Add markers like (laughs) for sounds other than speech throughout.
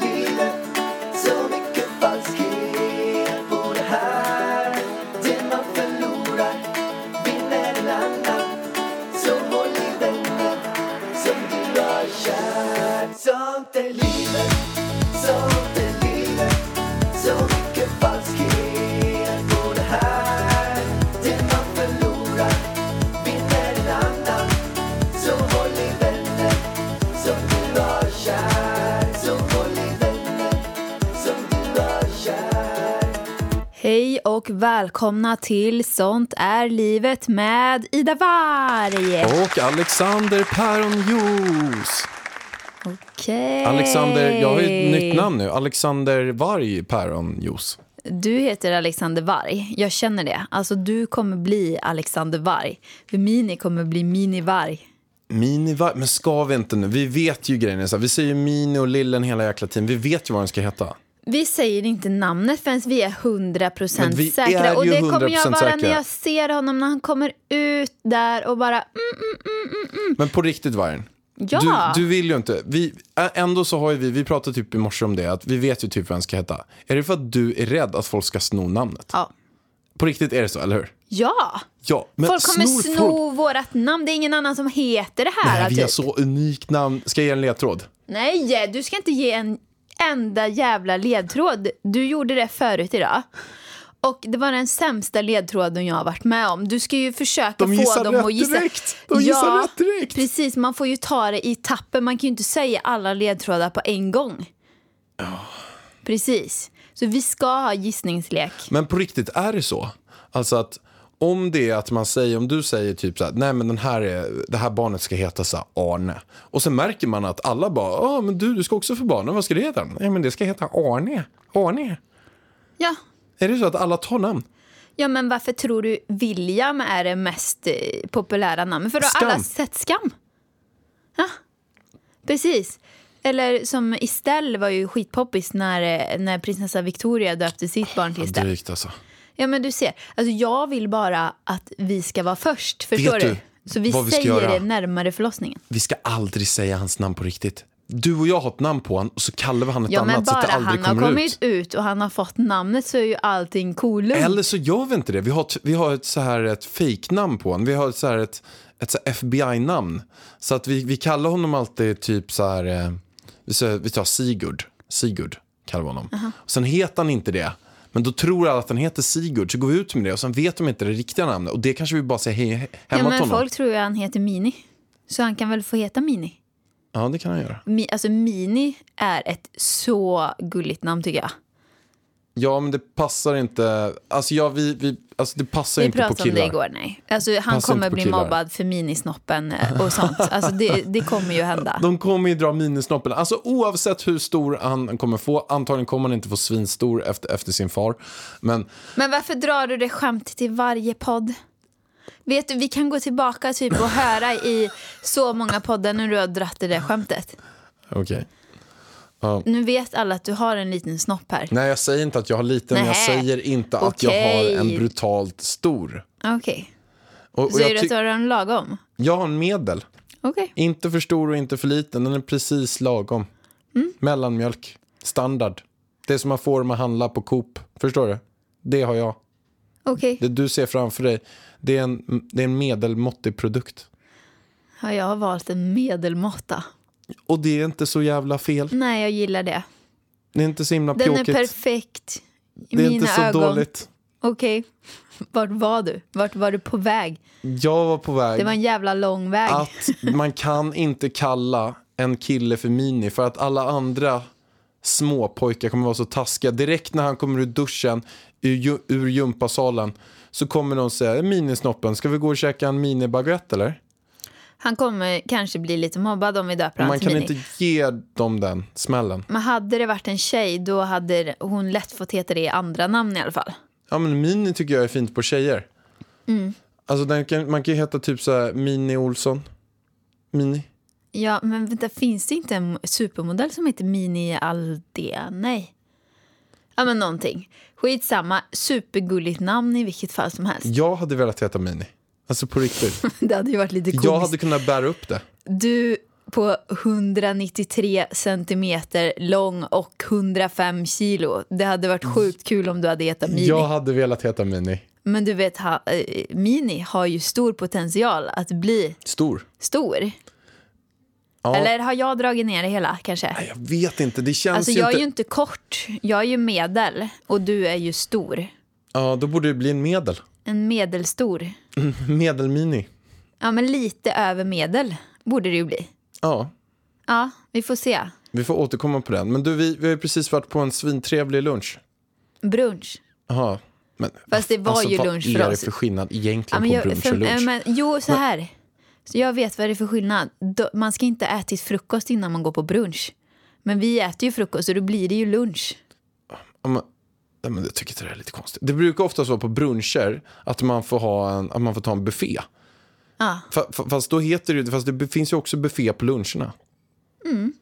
livet Så mycket falskhet på det här Det man förlorar vinner en annan Så håll i denna som du har kär Sånt är livet, sånt är livet Så mycket falskhet på det här Det man förlorar vinner en annan Så håll i vänner som du har kär Så håll i vänner som du har kär Hej och välkomna till Sånt är livet med Ida Warg. Och Alexander Päronjuice! Okej. Alexander, jag har ju ett nytt namn nu. Alexander Varg Päronjuice. Du heter Alexander Varg. Jag känner det. Alltså du kommer bli Alexander Varg. För Mini kommer bli Mini Varg. Mini-varg, men ska vi inte nu? Vi vet ju grejen är så här. Vi säger Mini och Lillen hela jäkla tiden. Vi vet ju vad den ska heta. Vi säger inte namnet förrän vi är 100% Men vi säkra. är ju och det kommer jag 100% vara när säkra. jag ser honom när han kommer ut där och bara mm, Men på riktigt vargen. Ja. Du, du vill ju inte. Vi, ä- ändå så har ju vi, vi pratade typ i morse om det, att vi vet ju typ vad den ska heta. Är det för att du är rädd att folk ska sno namnet? ja. På riktigt är det så, eller hur? Ja, Ja, men folk kommer snor sno folk- vårat namn. Det är ingen annan som heter det här. Nej, vi typ. har så unikt namn. Ska jag ge en ledtråd? Nej, du ska inte ge en enda jävla ledtråd. Du gjorde det förut idag. Och det var den sämsta ledtråden jag har varit med om. Du ska ju försöka De få gissar dem rätt att gissa. direkt. De gissar rätt direkt. Precis, man får ju ta det i tappen. Man kan ju inte säga alla ledtrådar på en gång. Precis. Så vi ska ha gissningslek. Men på riktigt, är det så? Alltså att om det är att man säger, om du säger typ så här, nej men den här är, det här barnet ska heta så här Arne. Och sen märker man att alla bara, ja men du, du ska också få barn, vad ska det heta? Nej men det ska heta Arne, Arne. Ja. Är det så att alla tar namn? ja, men varför tror du William är det mest eh, populära namnet? För då har alla Skam. sett Skam. Ja, precis. Eller som Estelle var ju skitpoppis när, eh, när prinsessa Victoria döpte sitt barn till Estelle. Drygt alltså. Ja, men du ser. Alltså, jag vill bara att vi ska vara först, förstår du? du Så vi, vad vi ska säger göra? det närmare förlossningen. Vi ska aldrig säga hans namn på riktigt. Du och jag har ett namn på honom och så kallar vi han ett Ja, men annat så att bara det han aldrig har kommer kommit ut. ut. och han har fått namnet så är ju allting coolum. Eller så gör vi inte det. Vi har ett, vi har ett så här ett fejknamn på honom. Vi har ett, så här ett, ett så här FBI-namn. Så att vi, vi kallar honom alltid typ så här, eh, vi, säger- vi tar Sigurd. Sigurd kallar vi honom. Och sen heter han inte det. Men då tror alla att han heter Sigurd, så går vi ut med det och sen vet de inte det riktiga namnet. Och det kanske vi bara säger he- he- ja, hemma till men honom. folk tror ju han heter Mini. Så han kan väl få heta Mini? Ja, det kan han göra. Mi, alltså Mini är ett så gulligt namn tycker jag. Ja, men det passar inte. Alltså, ja, vi, vi, alltså det passar Vi inte på killar. pratade om det igår, nej. Alltså, han Passar kommer inte på bli killar. mobbad för minisnoppen eh, och sånt. Alltså, det, det kommer ju (laughs) hända. De kommer ju dra minisnoppen. Alltså oavsett hur stor han kommer få. Antagligen kommer han inte få svinstor efter, efter sin far. Men Men varför drar du det skämtet till varje podd? Vet du, vi kan gå tillbaka typ och höra i så många poddar när du har dratt det där skämtet. okej. Nu vet alla att du har en liten snopp här. Nej, jag säger inte att jag har liten. men Jag Nähä. säger inte att jag har en Okej. brutalt stor. Okej. Och, och Säger jag, du att du ty- har en lagom? jag har en medel. Okej. Inte för stor och inte för liten. Den är precis lagom. Mm. Mellanmjölk. Standard. Det som man får om man handlar på Coop. Förstår du? Det har jag. Okej. Det du ser framför dig, det är en, det är en medelmåttig produkt. Ja, jag har valt en medelmåtta. Och det är inte så jävla fel. Nej, jag gillar det. Det är inte så himla Den pjåkigt. är perfekt i det är mina inte så ögon. dåligt. Okej. Vart var du? Vart var du på väg? Jag var på väg Det var en jävla lång väg. att man kan inte kalla en kille för mini för att alla andra småpojkar kommer vara så taskiga. Direkt när han kommer ur duschen, ur, ju- ur gympasalen, så kommer de säga "Eh, minisnoppen, ska vi gå och käka en minibaguette eller? Han kommer kanske bli lite mobbad om vi döper Man hans kan mini. inte ge dem den smällen. Men hade det varit en tjej då hade hon lätt fått heta det i andra namn i alla fall. Ja men mini tycker jag är fint på tjejer. Mm. Alltså den kan, man kan ju heta typ så här Mini Olsson. Mini. Ja, men vänta, finns det inte en supermodell som heter Mini Aldea? Nej. Ja, men någonting. Skitsamma, supergulligt namn i vilket fall som helst. (laughs) Jag hade velat heta Mini. Alltså på riktigt. Det hade ju varit lite komiskt. Jag hade kunnat bära upp det. Du på 193 centimeter lång och 105 kilo. Det hade varit Mm. sjukt kul om du hade hetat Mini. Jag hade velat heta Mini. Men du vet, ha, eh, Mini har ju stor potential att bli Stor. stor. Ja. Eller har jag dragit ner det hela kanske? Nej, Jag vet inte, det känns Alltså ju jag är inte... ju inte kort, jag är ju medel och du är ju stor. Ja, då borde det bli en medel. En medelstor. Medelmini. Ja men lite över medel borde det ju bli. Ja, Ja, vi får se. vi får återkomma på den. Men du, vi, vi har ju precis varit på en svintrevlig lunch. Brunch. Jaha. Men, Fast det var alltså, ju vad lunch är för det oss. för skillnad Ja, egentligen men jag, på brunch för, och lunch? eh, men, jo, så här. Så jag vet vad det är för skillnad. Då- Man ska inte äta till frukost innan man går på brunch. Men vi äter ju frukost och då blir det ju lunch. Ja, men, ja, men jag tycker inte det är lite konstigt. Det brukar oftast vara på bruncher att man får, ha en, att man får ta en buffé. Ja. Fa- fa- Fast, då heter det, ju- fast det finns ju också buffé på luncherna. Mm,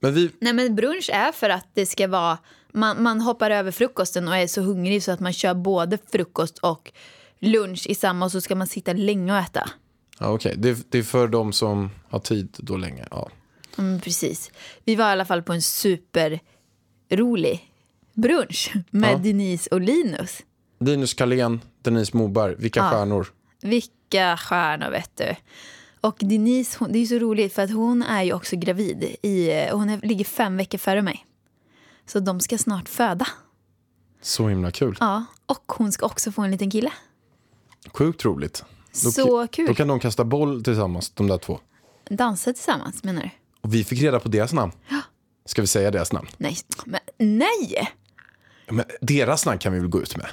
Men vi, Nej, men brunch är för att det ska vara... Man, man hoppar över frukosten och är så hungrig så att man kör både frukost och lunch i samma och så ska man sitta länge och äta. ja, okej. det, det är för de som har tid då länge. Ja. Mm, precis. Vi var i alla fall på en superrolig brunch med Ja. Denise och Linus. Linus Karlén, Denise Moberg, vilka Ja. stjärnor. Vilka stjärnor, vet du. Och Denise, hon, det är ju så roligt för att hon är ju också gravid. I, och hon är, ligger fem veckor före mig. Så de ska snart föda. Så himla kul. Ja, och hon ska också få en liten kille. Sjukt roligt. Då, så kul. då kan de kasta boll tillsammans, de där två. Dansa tillsammans, menar du? Och vi fick reda på deras namn. Ska vi säga deras namn? Nej. Men, nej! Ja, Men deras namn kan vi väl gå ut med?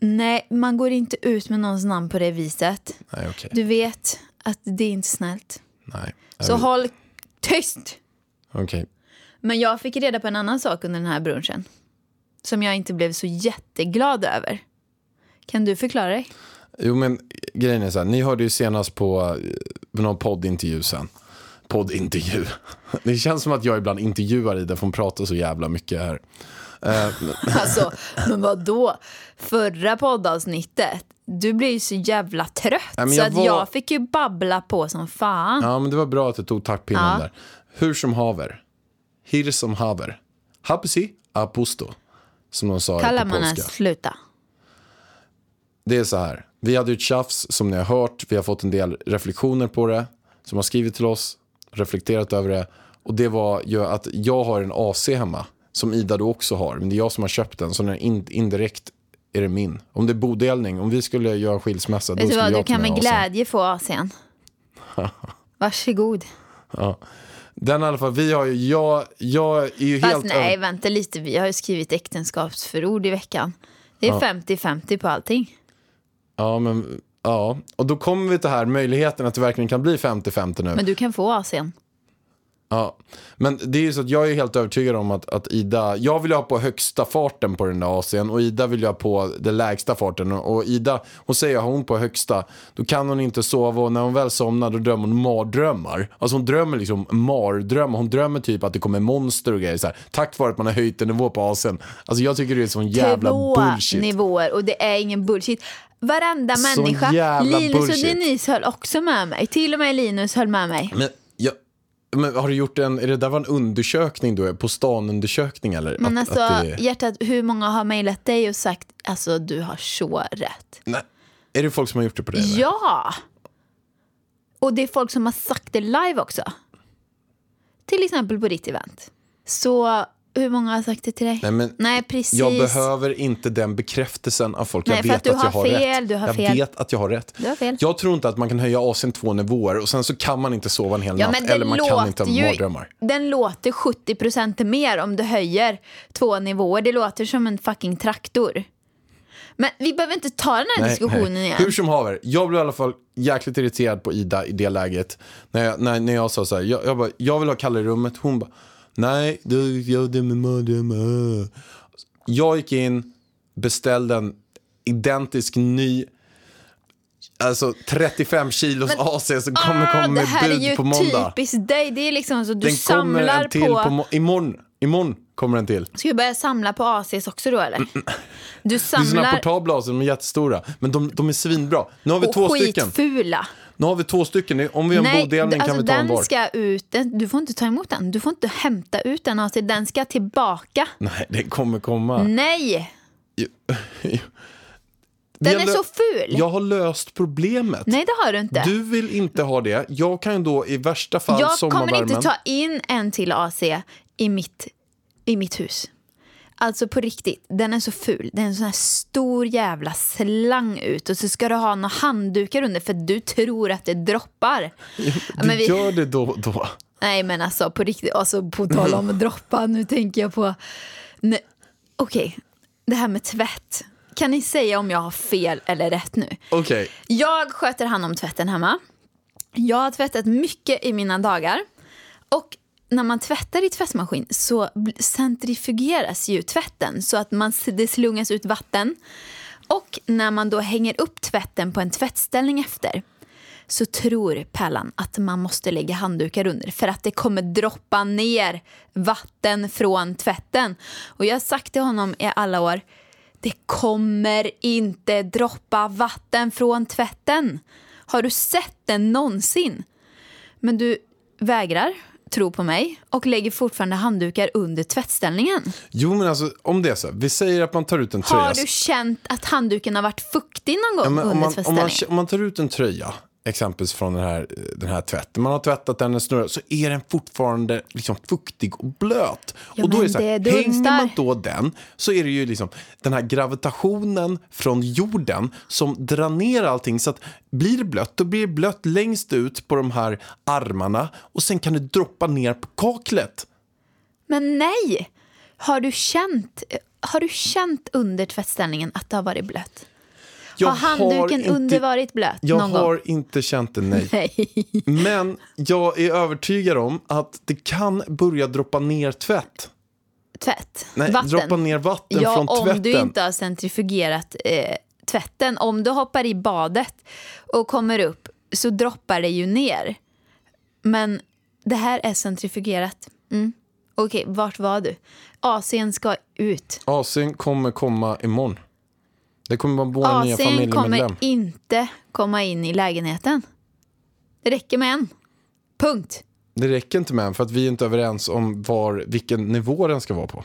Nej, man går inte ut med någons namn på det viset. Nej, okej. Du vet att det är inte snällt. Nej. Så Jag vet. håll tyst! Okej. Men jag fick reda på en annan sak under den här brunchen. Som jag inte blev så jätteglad över. Kan du förklara dig? Jo, men grejen är så här. Ni hörde ju senast på eh, någon poddintervju sen. Poddintervju. (laughs) Det känns som att jag ibland intervjuar i det för hon pratar så jävla mycket här. Alltså, men vad då? Förra poddavsnittet, du blev ju så jävla trött. Nej, men så jag att var- jag fick ju babbla på som fan. Ja, men det var bra att du tog taktpinnen Ja. där. Hur som haver. Hir som haver. Hapsi apusto. Som de sa Kallar på man polska. ens sluta? Det är så här. Vi hade ju ett tjafs som ni har hört. Vi har fått en del reflektioner på det. Som har skrivit till oss. Reflekterat över det. Och det var ju att jag har en AC hemma. Som Ida då också har. Men det är jag som har köpt den. Så den är in, indirekt är det min. Om det är bodelning. Om vi skulle göra en skilsmässa. Då Vet du skulle vad, du jag ta kan med med AC'n. glädje få (laughs) Asien. Varsågod. Den i alla fall. Vi har ju. Jag, jag är ju Fast helt nej, vänta lite. Vi har ju skrivit äktenskapsförord i veckan. Det är 50-50 på allting. Ja, men ja. Och då kommer vi till här möjligheten att det verkligen kan bli 50-50 nu. Men du kan få Asien. Ja. Men det är ju så att jag är helt övertygad om att, att Ida, jag vill ju ha på högsta farten på den där AC'n och Ida vill ju ha på den lägsta farten. Och och Ida, hon säger att har hon på högsta, då kan hon inte sova och när hon väl somnar då drömmer hon mardrömmar. Alltså hon drömmer liksom mardrömmar, hon drömmer typ att det kommer monster och grejer så här, tack vare att man har höjt en nivå på AC'n. Alltså jag tycker det är sån jävla Två bullshit. nivåer och det är ingen bullshit. Varenda Sån människa. jävla Linus bullshit. och Denise höll också med mig. Till och med Linus höll med mig. Men, jag, men har du gjort en, är det där var en undersökning då? På stan-undersökning eller? Men Att- alltså, att det, är- hjärtat, hur många har mejlat dig och sagt alltså du har så rätt? nej, är det folk som har gjort det på dig? eller? Ja! Och det är folk som har sagt det live också. Till exempel på ditt event. Så hur många har sagt det till dig? Nej, men precis. Jag behöver inte den bekräftelsen av folk. Nej, jag för vet att du jag har har fel, rätt. du har jag fel. vet att jag har rätt. Du har fel. Jag tror inte att man kan höja AC'n två nivåer och sen så kan man inte sova en hel Ja, men natt den eller man kan inte ha låter ju- mardrömmar. Den låter 70 mer om du höjer två nivåer. Det låter som en fucking traktor. Men vi behöver inte ta den här Nej, diskussionen nej. igen. Hur som haver, jag blev i alla fall jäkligt irriterad på Ida i det läget. När jag, när, när jag sa så här, jag, jag, bara, jag vill ha Kalle i rummet. Hon bara, nej, du gör det med mardrömmar. Jag gick in, beställde en identisk ny, alltså 35 kilos AC som kommer Ah, komma med det här är ju bud på måndag. typiskt dig. Det är liksom så du Den kommer samlar en till på, på... må- imorgon. Imorgon kommer den till. Ska vi börja samla på ACs också då Mm, eller? Du Det är såna här samlar portabla AC, de är jättestora. Men de, de är svinbra. Nu har vi och två stycken. skitfula. Nu har vi två stycken. Om vi gör en bodelning alltså, kan vi ta den en var. ska ut. Den, du får inte ta emot den. Du får inte hämta ut den. Alltså, den ska tillbaka. Nej, det kommer komma. Mm, Nej! Vi Den har är lö- så ful! Jag har löst problemet. Nej, det har du inte. Du vill inte ha det. Jag kan ju då i värsta fall jag kommer sommarvärmen. inte ta in en till AC i mitt, i mitt hus. Alltså på riktigt, den är så ful. Det är en sån här stor jävla slang ut och så ska du ha några handdukar under för att du tror att det droppar. Ja, Du men vi- gör det då och då. Nej men alltså på riktigt, alltså på tal (laughs) om att droppa, nu tänker jag på... Nej, Okej, det här med tvätt. Kan ni säga om jag har fel eller rätt nu? Okej, Jag sköter hand om tvätten hemma. Jag har tvättat mycket i mina dagar. Och när man tvättar i tvättmaskin så bl- centrifugeras ju tvätten så att man, s- det slungas ut vatten. Och när man då hänger upp tvätten på en tvättställning efter så tror Pärlan att man måste lägga handdukar under för att det kommer droppa ner vatten från tvätten. Och jag har sagt till honom i alla år, det kommer inte droppa vatten från tvätten. Har du sett det någonsin? Men du vägrar tro på mig och lägger fortfarande handdukar under tvättställningen. jo men alltså om det är så. här. Vi säger att man tar ut en tröja. Har du känt att handduken har varit fuktig någon Ja, gång men om, under man, om, man, tvättställningen? om man tar ut en tröja, exempelvis från den här, den här tvätten, man har tvättat den, den snurrar, så är den fortfarande liksom fuktig och blöt. Ja, och då är men det så här, det hänger dunstar. man då den så är det ju liksom den här gravitationen från jorden som drar ner allting. Så att blir det blött, då blir det blött längst ut på de här armarna och sen kan det droppa ner på kaklet. Men nej! Har du känt, har du känt under tvättställningen att det har varit blött? Jag har handduken inte- under varit blöt Jag någon har gång? inte känt det, nej. (laughs) Nej. Men jag är övertygad om att det kan börja droppa ner tvätt. Tvätt? Nej, Vatten? droppa ner vatten ja, från om tvätten. du inte har centrifugerat eh, tvätten. Om du hoppar i badet och kommer upp så droppar det ju ner. Men det här är centrifugerat. Mm. Okej, vart var du? AC'n ska ut. AC'n kommer komma imorgon. Det kommer vara vår nya AC'n familjemedlem. kommer inte komma in i lägenheten. Det räcker med en. Punkt. Det räcker inte med en för att vi är inte överens om var, vilken nivå den ska vara på.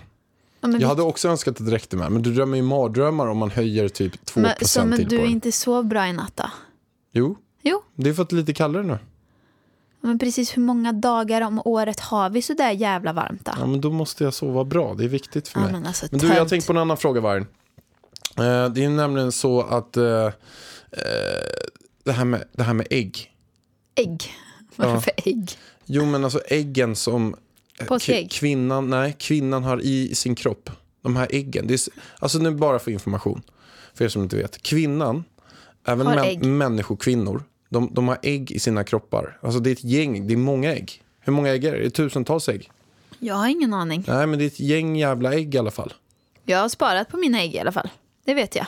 Ja, men Jag vi- hade också önskat att det räckte med en, men du drömmer ju mardrömmar om man höjer typ 2% men, så, men till du på den. inte sov bra i natt då? Jo, Jo, det är för att det är lite kallare nu. men precis hur många dagar om året har vi så där jävla varmt då? Ja, men då måste jag sova bra. Det är viktigt för Ja, mig. men alltså, men du, jag tönt. tänkte på en annan fråga, Vargen. Eh, det är nämligen så att eh, eh, det, här med, det här med ägg. Ägg. (laughs) Varför för ägg? Jo, men alltså äggen som eh, Påskägg. ki- kvinnan, nej, kvinnan har i sin kropp. De här äggen. Det är, s- alltså nu bara för information, för er som inte vet. Kvinnan, även Har ägg. män, människokvinnor, de, de har ägg i sina kroppar. Alltså det är ett gäng, det är många ägg. Hur många ägg är det? Det är tusentals ägg. Jag har ingen aning. Nej, men det är ett gäng jävla ägg i alla fall. Jag har sparat på mina ägg i alla fall. Det vet jag.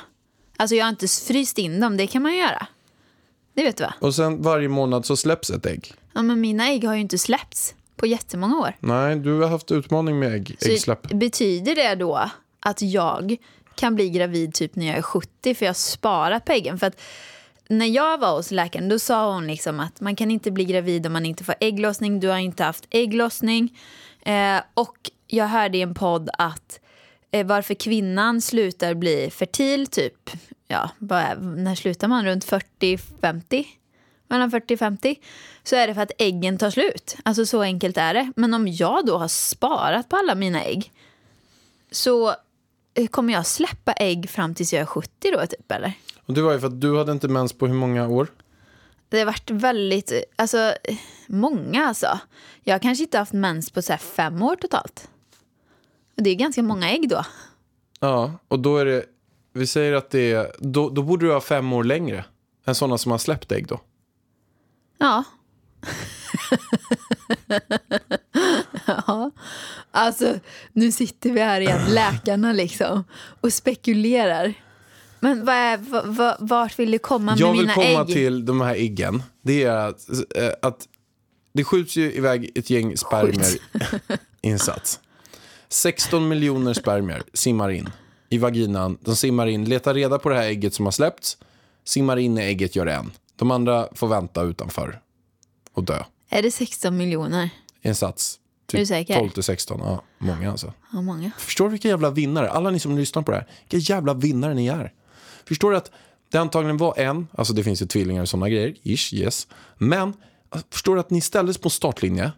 Alltså jag har inte fryst in dem, det kan man ju göra. Det vet du va? Och sen varje månad så släpps ett ägg. Ja, men mina ägg har ju inte släppts på jättemånga år. Nej, du har haft utmaning med ägg, Så äggsläpp. betyder det då att jag kan bli gravid typ när jag är 70 för jag har sparat på äggen? För att när jag var hos läkaren då sa hon liksom att man kan inte bli gravid om man inte får ägglossning. Du har inte haft ägglossning. Eh, och jag hörde i en podd att eh, varför kvinnan slutar bli fertil typ, ja, vad är, när slutar man? Runt 40-50? mellan 40 och 50 så är det för att äggen tar slut. Alltså så enkelt är det. Men om jag då har sparat på alla mina ägg så eh, kommer jag släppa ägg fram tills jag är 70 då typ eller? Och det var ju för att du hade inte mens på hur många år? Det har varit väldigt, eh, alltså eh, många alltså. Jag har kanske inte haft mens på så här fem år totalt. Och det är ganska många ägg då. Ja, och då är det... Vi säger att det är... Då, då borde du ha fem år längre än sådana som har släppt ägg då. Ja. (laughs) ja. Alltså, nu sitter vi här igen, läkarna liksom, och spekulerar. Men vad är, va, va, vart vill du komma Jag med vill mina komma ägg? till de här äggen. Det är att, eh, att det skjuts ju iväg ett gäng spermier i en sats. 16 miljoner spermier simmar in i vaginan. De simmar in, letar reda på det här ägget som har släppts, simmar in i ägget, gör en. De andra får vänta utanför och dö. Är det 16 miljoner? I en sats. Är du säker? 12 till 16. Ja, många alltså. Ja, många. Förstår vilka jävla vinnare, alla ni som lyssnar på det här, vilka jävla vinnare ni är. Förstår du att det antagligen var en, alltså det finns ju tvillingar och sådana grejer, ish, yes. Men alltså, förstår du att ni ställdes på startlinje,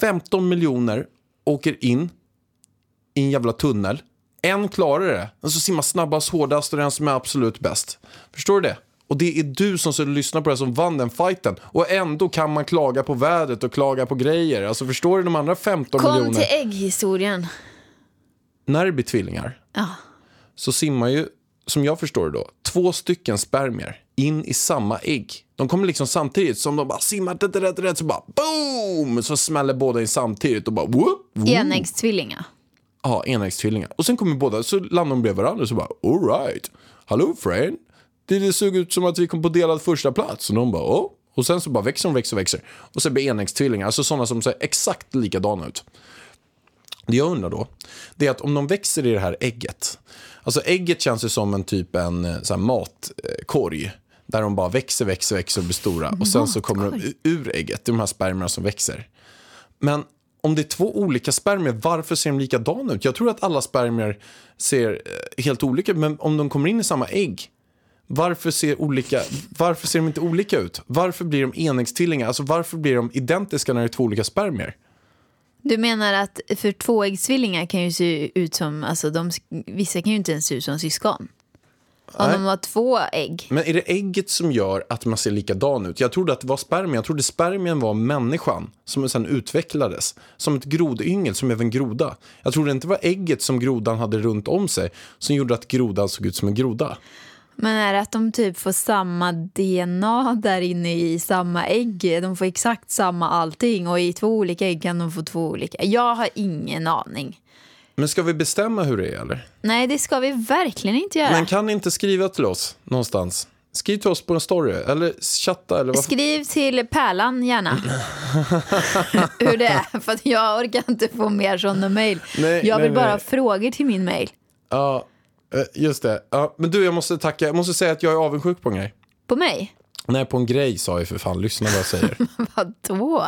15 miljoner åker in i en jävla tunnel, en klarar det, den som simmar snabbast, hårdast och den som är absolut bäst. Förstår du det? Och det är du som så lyssnar på det här som vann den fighten. Och ändå kan man klaga på vädret och klaga på grejer. Alltså förstår du de andra 15 Kom miljoner? till ägghistorien. när det blir tvillingar Ja. så simmar ju, som jag förstår det då, två stycken spermier in i samma ägg. De kommer liksom samtidigt, som de bara simmar rätt, rätt, rätt, så bara boom! Så smäller båda in samtidigt och bara whoop, whoop. Enäggstvillingar. Ja, enäggstvillingar. Och sen kommer båda, så landar de bredvid varandra och så bara all right, hello friend. Det, det såg ut som att vi kom på delad första plats. Och de bara åh. Och sen så bara växer de, växer, växer. Och sen blir enäggstvillingar, alltså sådana som ser exakt likadana ut. Det jag undrar då, det är att om de växer i det här ägget. Alltså ägget känns ju som en typ en eh, så här matkorg. eh, Där de bara växer, växer, växer och blir stora. Och sen så kommer de u- ur ägget, det är de här spermierna som växer. Men om det är två olika spermier, varför ser de likadana ut? Jag tror att alla spermier ser eh, helt olika ut, men om de kommer in i samma ägg, varför ser, olika, varför ser de inte olika ut? Varför blir de enäggstvillingar? Alltså varför blir de identiska när det är två olika spermier? Du menar att för tvåäggstvillingar kan ju se ut som, alltså de, vissa kan ju inte ens se ut som syskon. Om Nej. de har två ägg. Men är det ägget som gör att man ser likadan ut? Jag trodde att det var spermien. Jag trodde spermien var människan som sen utvecklades. Som ett grodyngel, som även groda. Jag trodde inte det var ägget som grodan hade runt om sig som gjorde att grodan såg ut som en groda. Men är det att de typ får samma DNA där inne i samma ägg? De får exakt samma allting och i två olika ägg kan de få två olika. Jag har ingen aning. Men ska vi bestämma hur det är eller? Nej, det ska vi verkligen inte göra. Men kan ni inte skriva till oss någonstans? Skriv till oss på en story eller chatta eller vad? Skriv till Pärlan gärna (laughs) hur det är, för att jag orkar inte få mer sådana mejl. Nej, Jag vill nej, bara ha nej. frågor till min mejl. Ja, eh, just det. Ja, men du, jag måste tacka. Jag måste säga att jag är avundsjuk på en grej. På mig? (laughs) Nej, på en grej sa jag för fan. Lyssna vad jag säger. Vadå?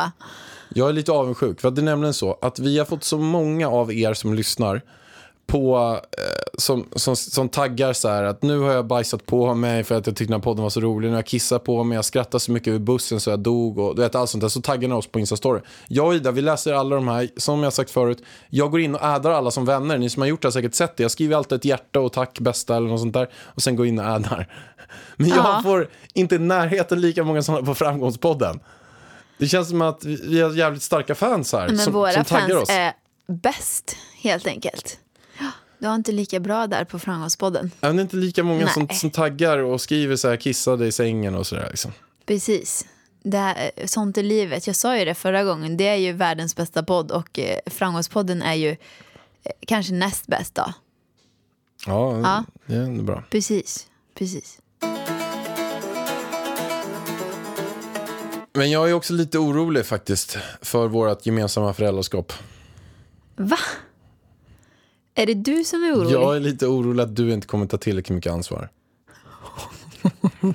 Jag är lite avundsjuk. För att det är nämligen så att vi har fått så många av er som lyssnar på, eh, som, som, som taggar så här att nu har jag bajsat på mig för att jag tyckte den här podden var så rolig. Nu har jag kissat på mig, jag skrattade så mycket över bussen så jag dog och du vet allt sånt där. Så taggar ni oss på Instastory. Jag och Ida, vi läser alla de här, som jag sagt förut. Jag går in och ädar alla som vänner. Ni som har gjort det har säkert sett det. Jag skriver alltid ett hjärta och tack bästa eller något sånt där. Och sen går in och ädar. (laughs) Men jag Ja. får inte i närheten lika många sådana på Framgångspodden. Det känns som att vi vi har jävligt starka fans här Men som, våra som taggar fans oss. är bäst, helt enkelt. Ja, Du har inte lika bra där på Framgångspodden. Ja, men Det är inte lika många som, Nej. som taggar och skriver så här kissade i sängen och sådär. Liksom. Precis. Det här, eh, sånt är livet. Jag sa ju det förra gången. Det är ju världens bästa podd och eh, Framgångspodden är ju eh, kanske näst bäst då. Ja, Ja. det är ändå bra. Precis. Precis. Men jag är också lite orolig faktiskt för vårt gemensamma föräldraskap. Va? Är det du som är orolig? Jag är lite orolig att du inte kommer ta tillräckligt mycket ansvar. (laughs)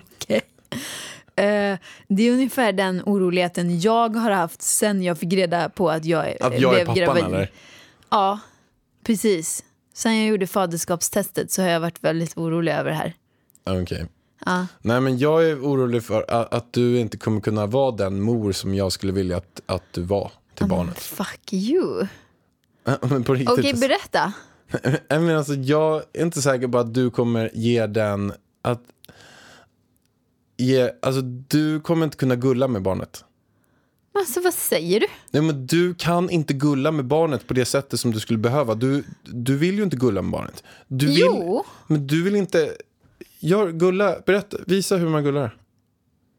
Eh, det är ungefär den oroligheten jag har haft sen jag fick reda på att jag, eh, Att jag är blev pappan gravid. eller? Ja, precis. Sen jag gjorde faderskapstestet så har jag varit väldigt orolig över det här. Okej. Nej men jag är orolig för att, att du inte kommer kunna vara den mor som jag skulle vilja att, att du var till barnet. (laughs) Fuck you. Men på riktigt. Mm. Okej, berätta. Nej, men alltså, jag är inte säker på att du kommer ge den att... Ge, alltså, du kommer inte kunna gulla med barnet. Men Alltså vad säger du? Nej, men du kan inte gulla med barnet på det sättet som du skulle behöva. Du, du vill ju inte gulla med barnet. Du vill, Jo. Men du vill inte... Gör, gulla, berätta, visa hur man gullar.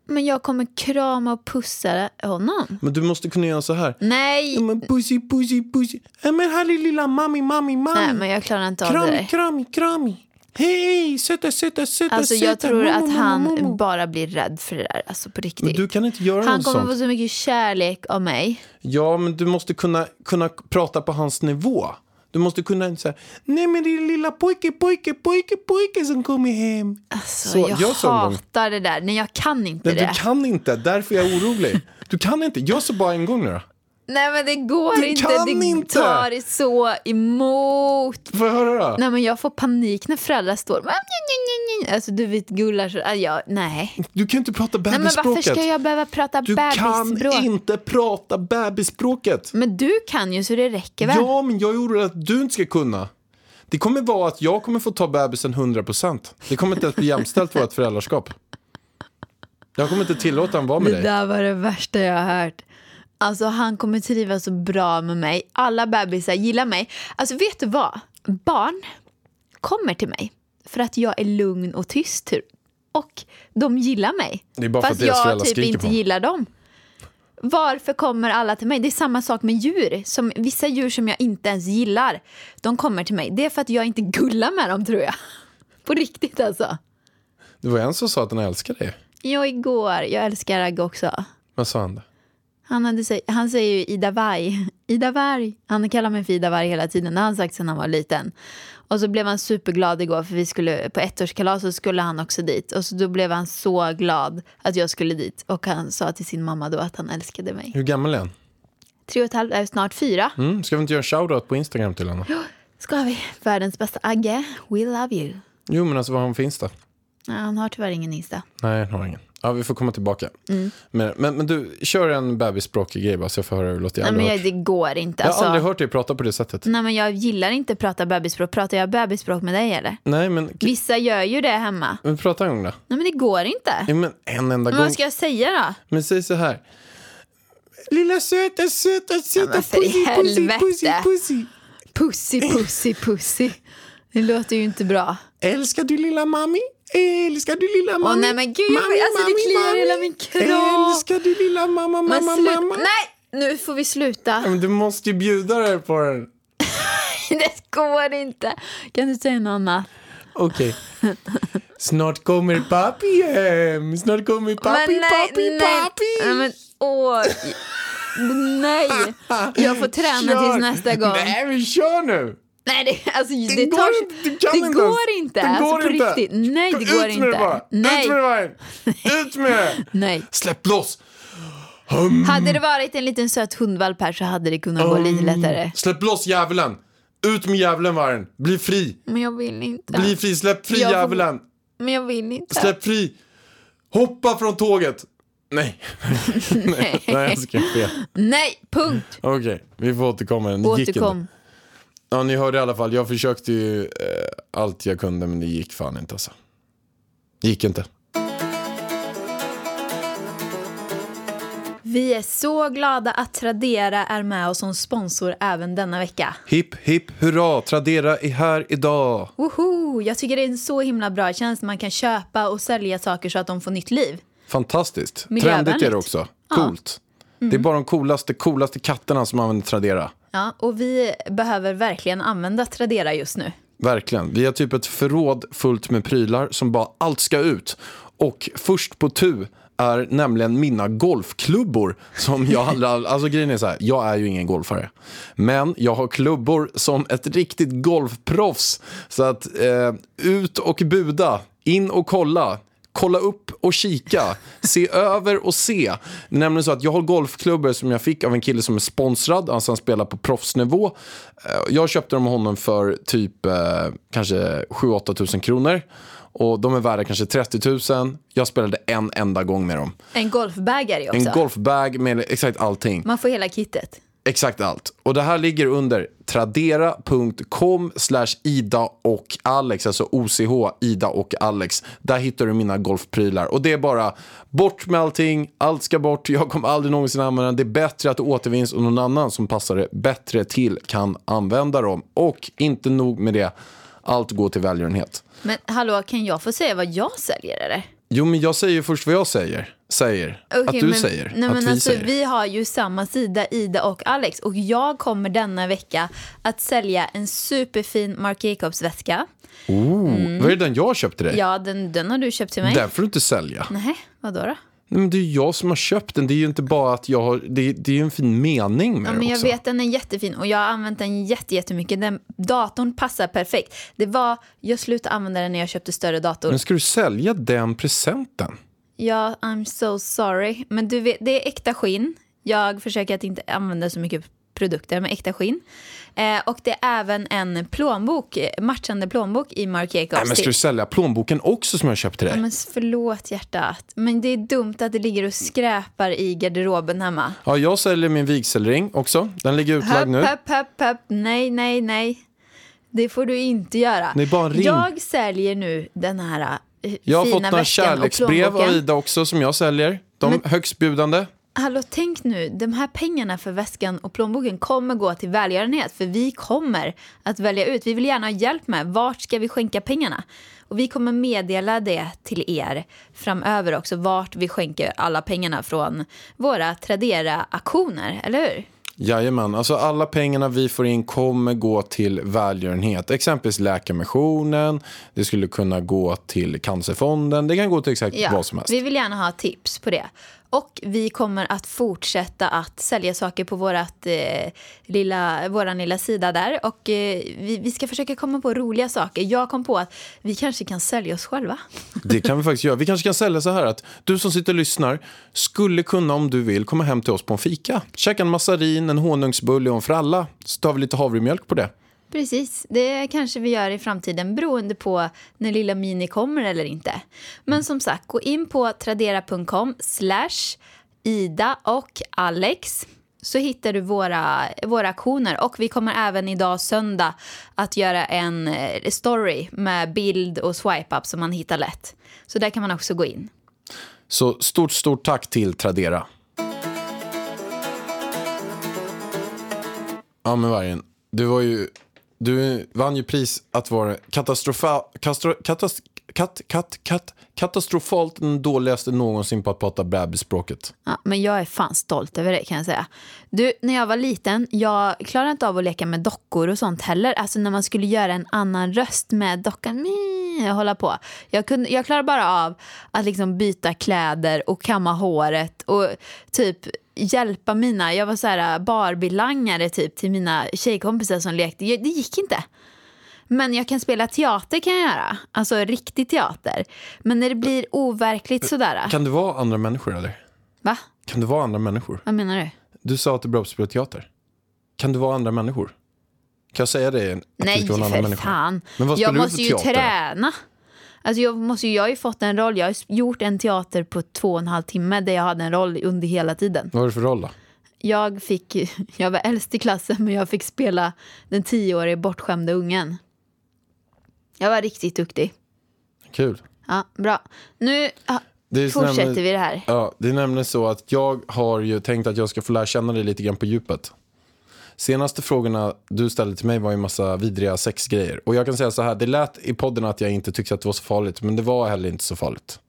Men jag kommer krama och pussa honom. Men du måste kunna göra så här. Nej, Ja, men pussy, pussy, pussy. Ja, men härlig lilla mami, mami, mami. Nej men jag klarar inte av det krami, där. krami, krami. Hej, söta, söta, söta, Alltså jag söta. tror Momo, att momo, momo. han bara blir rädd för det där. Alltså på Men riktigt. du kan inte göra Han något kommer sånt. få så mycket kärlek av mig. Ja, men du måste kunna, kunna prata på hans nivå. Du måste kunna säga, nej men det är lilla pojke, pojke, pojke, pojke som kommer hem. Alltså, Så, jag, gör så en gång. hatar det där. Nej, jag kan inte Nej, det. du kan inte, därför är jag orolig. Du kan inte, gör så bara en gång nu då. Nej, men det går Du inte. kan det inte. tar så emot. Får jag höra då? Nej, men jag får panik när föräldrar står... "Ah, nj, nj, nj, nj." Alltså, du vet, gullar så... Ah, jag, nej. Du kan inte prata nej, men varför bebisspråket. ska jag behöva prata Du kan bebisspråk? inte prata bebisspråket. Men du kan ju, så det räcker väl? Ja, men jag är orolig att du inte ska kunna. Det kommer vara att jag kommer få ta bebisen 100%. Det kommer inte att bli jämställt vårt föräldraskap. Jag kommer inte tillåta honom vara med Det dig. där var det värsta jag har hört. Alltså han kommer trivas så bra med mig. Alla bebisar gillar mig. Alltså vet du vad? Barn kommer till mig för att jag är lugn och tyst. typ. Och de gillar mig. Det är bara för Fast att deras jag föräldrar typ skriker inte på dem. gillar dem. Varför kommer alla till mig? Det är samma sak med djur. Som, vissa djur som jag inte ens gillar, de kommer till mig. Det är för att jag inte gullar med dem tror jag. (laughs) På riktigt alltså. Det var en som sa att den älskar dig. Jag igår, jag älskar Agge också. Vad sa han då? Han, hade, sä- han säger ju Ida Varg. Ida Varg. Han kallar mig för Ida Varg hela tiden. Det har han sagt sedan han var liten. Och så blev han superglad igår för vi skulle på ettårskalas så skulle han också dit. Och så då blev han så glad att jag skulle dit. Och han sa till sin mamma då att han älskade mig. Hur gammal är han? Tre och ett halvt, äh, snart fyra. Mm, ska vi inte göra en shoutout på Instagram till honom? Ska vi? Världens bästa Agge. We love you. Jo, men alltså var han finns då? Ja, han har tyvärr ingen Insta. Nej, jag har ingen. Ja, vi får komma tillbaka. Mm. Men, men, men du, kör en bebisspråkig grej bara så jag får höra hur det låter. Nej, Jag, aldrig men hört. jag, det går inte. jag har Alltså. aldrig Mm. hört dig prata på det sättet. Nej, men jag gillar inte att prata bebisspråk. Pratar jag bebisspråk med dig eller? Nej, men, Vissa gör ju det hemma. men prata en gång då. Nej, men det går inte. Ja, men en enda Men gång. vad ska jag säga då? Men säg så här. Lilla söta, söta, söta men för i pussy, pussy, helvete. pussy, pussy. Pussy, pussy, pussy. Det låter ju inte bra. Älskar du lilla mami? Älskar du lilla mami? nej, men gud, jag- alltså, det kliar hela min kropp. Älskar du lilla mamma, mamma, Men slut- mamma? Mm. Nej, nu får vi Ja, sluta. Men du måste ju bjuda dig på den. (laughs) Det går inte. Kan du säga något annat? Okej. Snart kommer pappi hem. Snart kommer pappi, pappi, Nej, pappi. men åh. Nej, (laughs) jag får träna Kör. tills nästa gång. Nej, Nej, men kör nu. det, alltså, det, går tar, inte, du kan det inte går ens. inte. Det alltså, går på inte. riktigt. Nej, det går Ut med det bara. inte. Nej, Ut med det bara. (laughs) Ut med det. nej. Släpp loss! Hum, Mm. Hade det varit en liten söt hundvalp här så hade det kunnat Mm. gå lite lättare. släpp loss djävulen! Ut med djävulen vargen! Bli fri! Men jag vill inte. Bli fri! Släpp fri Jag får- djävulen! Men jag vill inte. Släpp fri! Hoppa från tåget! (laughs) Nej, Nej. nej jag skrev fel. Nej, punkt. Okej, vi får återkomma. Det gick inte. Återkom. Ja, ni hörde i alla fall. Jag försökte ju eh, allt jag kunde men det gick fan inte alltså. Det gick inte. Vi är så glada att Tradera är med oss som sponsor även denna vecka. Hipp, hipp, hurra! Tradera är här idag. Woho! Jag tycker det är en så himla bra tjänst. Man kan köpa och sälja saker så att de får nytt liv. Fantastiskt. Miljövänligt. Trendigt är det också. Coolt. Det är bara de coolaste, coolaste katterna som använder Tradera. Ja, och vi behöver verkligen använda Tradera just nu. Verkligen. Vi har typ ett förråd fullt med prylar som bara allt ska ut. Och först på tu är nämligen mina golfklubbor som jag aldrig, alltså grejen är så här, jag är ju ingen golfare. Men jag har klubbor som ett riktigt golfproffs. Så att eh, ut och buda, in och kolla. Kolla upp och kika. Se (laughs) över och se. Det är nämligen så att jag har golfklubbor som jag fick av en kille som är sponsrad. Alltså han spelar på proffsnivå. Eh, Jag köpte dem av honom för typ eh, kanske 7-8 tusen kronor. Och de är värda kanske 30 000. Jag spelade en enda gång med dem. En golfbag är det också. En golfbag med exakt allting. Man får hela kittet. Exakt allt. Och det här ligger under tradera.com slash Ida och Alex, alltså OCH, Ida och Alex. Där hittar du mina golfprylar. Och det är bara bort med allting, allt ska bort, jag kommer aldrig någonsin använda den. Det är bättre att det återvinns och någon annan som passar det bättre till kan använda dem. Och inte nog med det, allt går till välgörenhet. Men hallå, kan jag få säga vad jag säljer eller? Jo, men jag säger ju först vad jag säger. Säger. att Okej, du men- säger. Nej, att men vi alltså, säger. Vi har ju samma sida, Ida och Alex. Och jag kommer denna vecka att sälja en superfin Marc Jacobs-väska. Mm. Oh, Vad är det den jag köpte dig? Ja, den, den har du köpt till mig. Den får du inte sälja. Nej, vadå då? Nej, men det är ju jag som har köpt den. Det är ju inte bara att jag har... Det, det är ju en fin mening med Ja, det men jag också. vet, den är jättefin och jag har använt den jätte- jättemycket. Den, datorn passar perfekt. Det var, jag slutade använda den när jag köpte större dator. Men ska du sälja den presenten? Ja, I'm so sorry. Men du vet, det är äkta skinn. Jag försöker att inte använda så mycket produkter med äkta skinn. Eh, och det är även en plånbok, eh, matchande plånbok i Marc Nej, Jacobs men ska du till. sälja plånboken också som jag köpte till dig? Ja, men förlåt hjärtat, men det är dumt att det ligger och skräpar i garderoben hemma. Ja, jag säljer min vigselring också. Den ligger utlagd Höpp, nu. höpp, höpp, höpp. Nej, nej, nej. Det får du inte göra. Det är bara en ring. Jag säljer nu den här eh, Jag har fina fått några väskan och kärleksbrev av plånboken. Ida också som jag säljer. De högstbjudande. Hallå, tänk nu, de här pengarna för väskan och plånboken kommer gå till välgörenhet för vi kommer att välja ut. Vi vill gärna ha hjälp med vart ska vi skänka pengarna? Och vi kommer meddela det till er framöver också vart vi skänker alla pengarna från våra Tradera-aktioner, eller hur? Jajamän, alltså alla pengarna vi får in kommer gå till välgörenhet. Exempelvis Läkarmissionen, det skulle kunna gå till Cancerfonden, det kan gå till exakt Typ vad som helst. Vi vill gärna ha tips på det. Och vi kommer att fortsätta att sälja saker på vårat, eh, lilla, våran lilla sida där. Och eh, vi, vi ska försöka komma på roliga saker. Jag kom på att vi kanske kan sälja oss själva. Det kan vi faktiskt göra. Vi kanske kan sälja så här att du som sitter och lyssnar skulle kunna om du vill komma hem till oss på en fika. Käka en massarin, en honungsbulle och en fralla. Så tar vi lite havremjölk på det. Precis, det kanske vi gör i framtiden beroende på när lilla Mini kommer eller inte. Men som sagt, gå in på tradera.com slash Ida och Alex så hittar du våra, våra aktioner och vi kommer även idag söndag att göra en eh, story med bild och swipe up som man hittar lätt. Så där kan man också gå in. Så stort, stort tack till Tradera. Ja, men Vargen, du var ju... Du vann ju pris att vara katastrofa, kastro, katas, kat, kat, kat, katastrofalt den dåligaste någonsin på att prata bebisspråket. Ja, men jag är fan stolt över det kan jag säga. Du, när jag var liten, jag klarade inte av att leka med dockor och sånt heller. Alltså när man skulle göra en annan röst med dockan, "Mii", och hålla på. Jag, kunde, jag klarade bara av att liksom byta kläder och kamma håret och typ hjälpa mina, jag var så här äh, Barbie-langare typ till mina tjejkompisar som lekte. Jag, det gick inte. Men jag kan spela teater kan jag göra, alltså riktig teater. Men när det blir overkligt sådär, äh. Kan det vara andra människor, eller? va? Kan det vara andra människor? Vad menar du? Du sa att du är bra på att spela teater. Kan du vara andra människor? Kan jag säga det? Att du Nej, ska vara en annan för människa? fan. Men vad jag spelar du måste för ju teater? träna. Alltså jag, måste ju, jag har ju fått en roll. Jag har ju gjort en teater på två och en halv timme där jag hade en roll under hela tiden. Vad är det för roll då? Jag, fick, (laughs) jag var äldst i klassen men jag fick spela den tioåriga bortskämda ungen. Jag var riktigt duktig. Kul. Ja, bra. Nu ja, Det är så fortsätter nämligen- vi det här. Ja, det är nämligen så att jag har ju tänkt att jag ska få lära känna dig lite grann på djupet. Senaste frågorna du ställde till mig var ju en massa vidriga sexgrejer. Och jag kan säga så här, det lät i podden att jag inte tyckte att det var så farligt, men det var heller inte så farligt.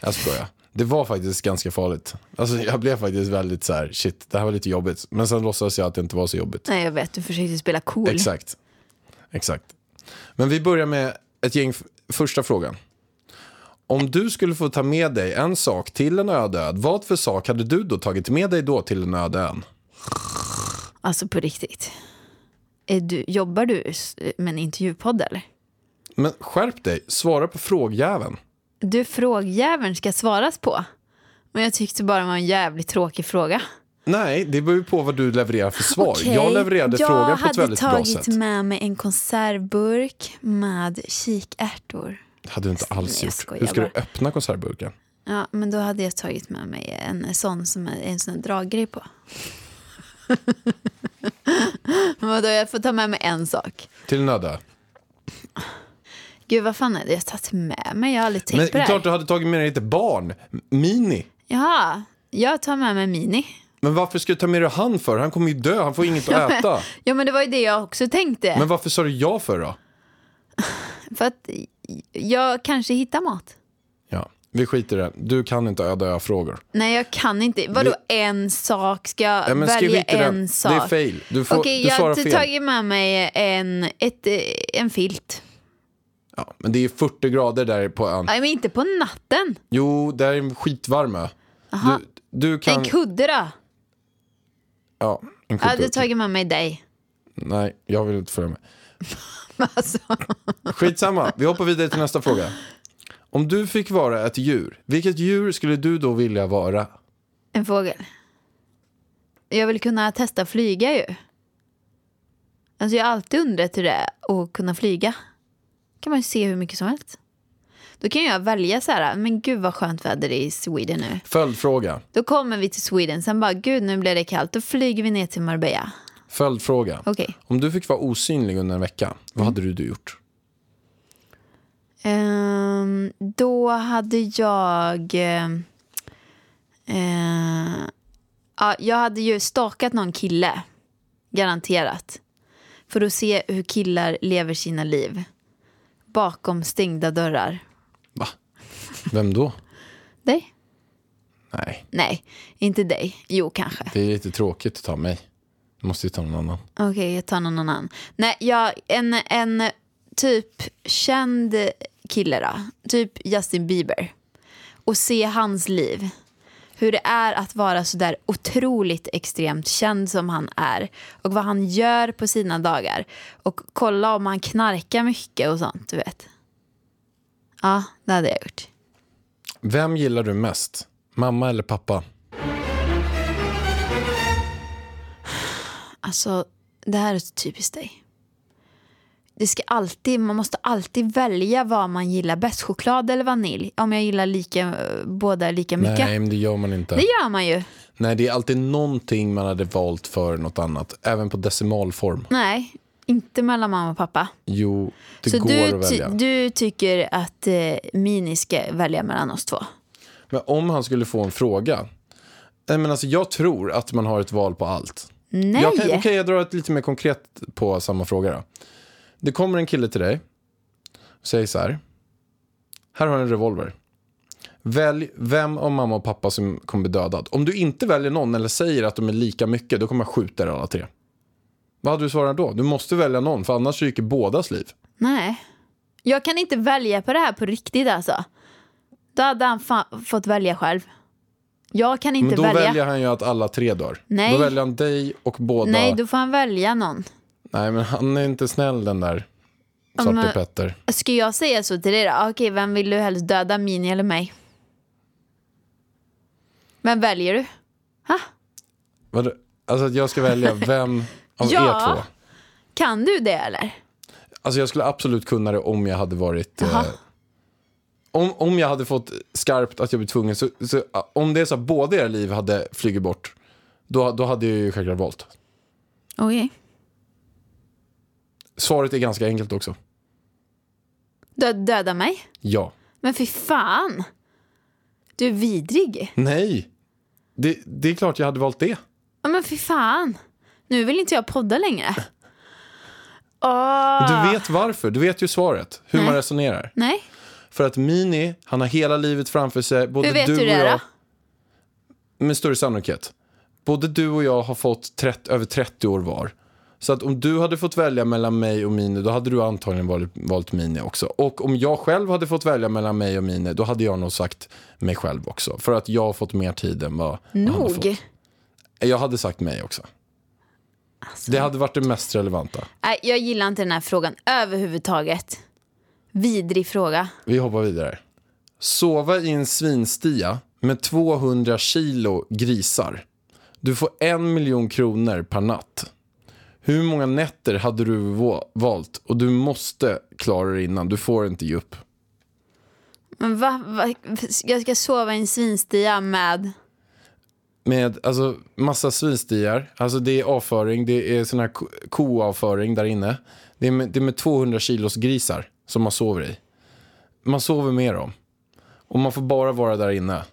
Jag skojar. Det var faktiskt ganska farligt. Alltså jag blev faktiskt väldigt så här, shit, det här var lite jobbigt. Men sen låtsades jag att det inte var så jobbigt. Nej, jag vet. Du försökte spela cool. Exakt. Exakt. Men vi börjar med ett gäng f- första frågan. Om du skulle få ta med dig en sak till en öde ö, vad för sak hade du då tagit med dig då till en öde ön? Alltså på riktigt. Är du, jobbar du s- med en intervjupodd eller? Men skärp dig, svara på frågjäveln. Du, frågjäveln ska svaras på. Men jag tyckte bara det var en jävligt tråkig fråga. Nej, det beror ju på vad du levererar för svar. Okej, Jag levererade jag frågan på ett hade väldigt bra tagit sätt. med mig en konservburk med kikärtor. Det hade du inte alls Nej, jag gjort. skojar Hur ska du bara. öppna konservburken? Ja, men då hade jag tagit med mig en sån som är en sån här draggrej på. (laughs) Vadå, jag får ta med mig en sak. Till en öde ö. Gud, vad fan hade jag tagit med mig? Jag har aldrig tänkt Men på det här. klart du hade tagit med dig ett barn. M- Mini. Ja, jag tar med mig Mini. Men varför ska du ta med dig han för? Han kommer ju dö, han får inget (laughs) att äta. Ja, men det var ju det jag också tänkte. Men varför sa du ja för då? För att jag kanske hittar mat. Ja, vi skiter i det. Du kan inte öda ö-frågor. Nej, jag kan inte. Vadå en sak? Ska jag Nej, men skriv välja inte en den. Det är sak? fail. Du får- Okej, du jag svarar har fel. tagit med mig en, ett, eh, en filt. Ja, men det är 40 grader där på ön. Nej, men inte på natten. Jo, det är en skitvarm ö. Aha. Du, du kan... En kudde då? Ja, en Jag kudde. hade tagit med mig dig. (laughs) Nej, jag vill inte följa med. Alltså, Skitsamma, vi hoppar vidare till nästa fråga. Om du fick vara ett djur, vilket djur skulle du då vilja vara? en fågel. Jag vill kunna testa flyga ju. Alltså jag har alltid undrat hur det är att kunna flyga. kan man ju se hur mycket som helst. Då kan jag välja så här, men gud vad skönt väder i Sweden nu. Följdfråga. Då kommer vi till Sweden, sen bara gud nu blir det kallt, då flyger vi ner till Marbella. Följdfråga. Okej. Om du fick vara osynlig under en vecka, vad hade du då gjort? Ehm, då hade jag... ehm, eh, ja, jag hade ju stakat någon kille, garanterat. För att se hur killar lever sina liv bakom stängda dörrar. Va? Vem då? Dig? Nej, Nej, inte dig. Jo, kanske. det är lite tråkigt att ta mig. Du måste ju ta någon annan. Okej, jag tar någon annan. Nej, jag, en, en typ känd kille då. Typ Justin Bieber. Och se hans liv. Hur det är att vara så där otroligt extremt känd som han är. Och vad han gör på sina dagar. Och kolla om han knarkar mycket och sånt, du vet. Ja, det hade jag gjort. Vem gillar du mest? Mamma eller pappa? Alltså, det här är så typiskt dig. Det ska alltid, man måste alltid välja vad man gillar bäst. Choklad eller vanilj? Om jag gillar lika, eh, båda lika mycket. Nej, men det gör man inte. Det gör man ju. Nej, det är alltid någonting man hade valt för något annat. Även på decimalform. Nej, inte mellan mamma och pappa. Jo, det så går du, att ty- välja. du tycker att eh, Mini ska välja mellan oss två? Men om han skulle få en fråga. Nej, men alltså, jag tror att man har ett val på allt. Nej! Jag kan, okej, jag drar ett lite mer konkret på samma fråga. Då. Det kommer en kille till dig och säger så här. Här har du en revolver. Välj vem av mamma och pappa som kommer bli dödad. Om du inte väljer någon eller säger att de är lika mycket, då kommer jag skjuta er alla tre. Vad hade du svarat då? Du måste välja någon, för annars ryker bådas liv. Nej. Jag kan inte välja på det här på riktigt alltså. Då hade han fa- fått välja själv. Jag kan inte Men då välja. väljer han ju att alla tre dör. Nej. Då väljer han dig och båda. Nej, då får han välja någon. Nej, men han är inte snäll den där Ja, Svarte men- Petter. Ska jag säga så till dig då? Ah, Okej, vem vill du helst döda, Mini eller mig? Vem väljer du? Ha? Vadå? Alltså att jag ska välja vem av (laughs) Ja. er två. Kan du det eller? Alltså jag skulle absolut kunna det om jag hade varit... Eh, Jaha. om, om jag hade fått skarpt att jag blev tvungen. Så, så, eh, om det är så att båda era liv hade flugit bort, då, då hade jag ju självklart valt. Okej. Svaret är ganska enkelt också. Dö- döda mig? Ja. Men fy fan! Du är vidrig. Nej. Det, det är klart jag hade valt det. Ja, men fy fan. Nu vill inte jag podda (laughs) längre. Åh. Du vet varför. Du vet ju svaret. Hur man Ah. Nej. resonerar. Nej, För att Mini, han har hela livet framför sig. Både hur vet du du och det jag. då? med större sannolikhet. Både du och jag har fått 30, över 30 år var. Så att om du hade fått välja mellan mig och Mini, då hade du antagligen valt, valt Mini också. Och om jag själv hade fått välja mellan mig och Mini, då hade jag nog sagt mig själv också. För att jag har fått mer tid än vad vad han har fått. Nog. Jag hade sagt mig också. Det hade varit det mest relevanta. Nej, jag gillar inte den här frågan överhuvudtaget. Vidrig fråga. Vi hoppar vidare. Sova i en svinstia med 200 kilo grisar. Du får en miljon kronor per natt. Hur många nätter hade du va- valt? Och du måste klara det innan. Du får inte ge upp. Men va, va, jag ska sova i en svinstia med... Med alltså, massa svinstiar. Alltså, det är avföring. Det är sån här ko- koavföring där inne. Det är, med, det är med 200 kilos grisar som man sover i. Man sover med dem. Och man får bara vara där inne.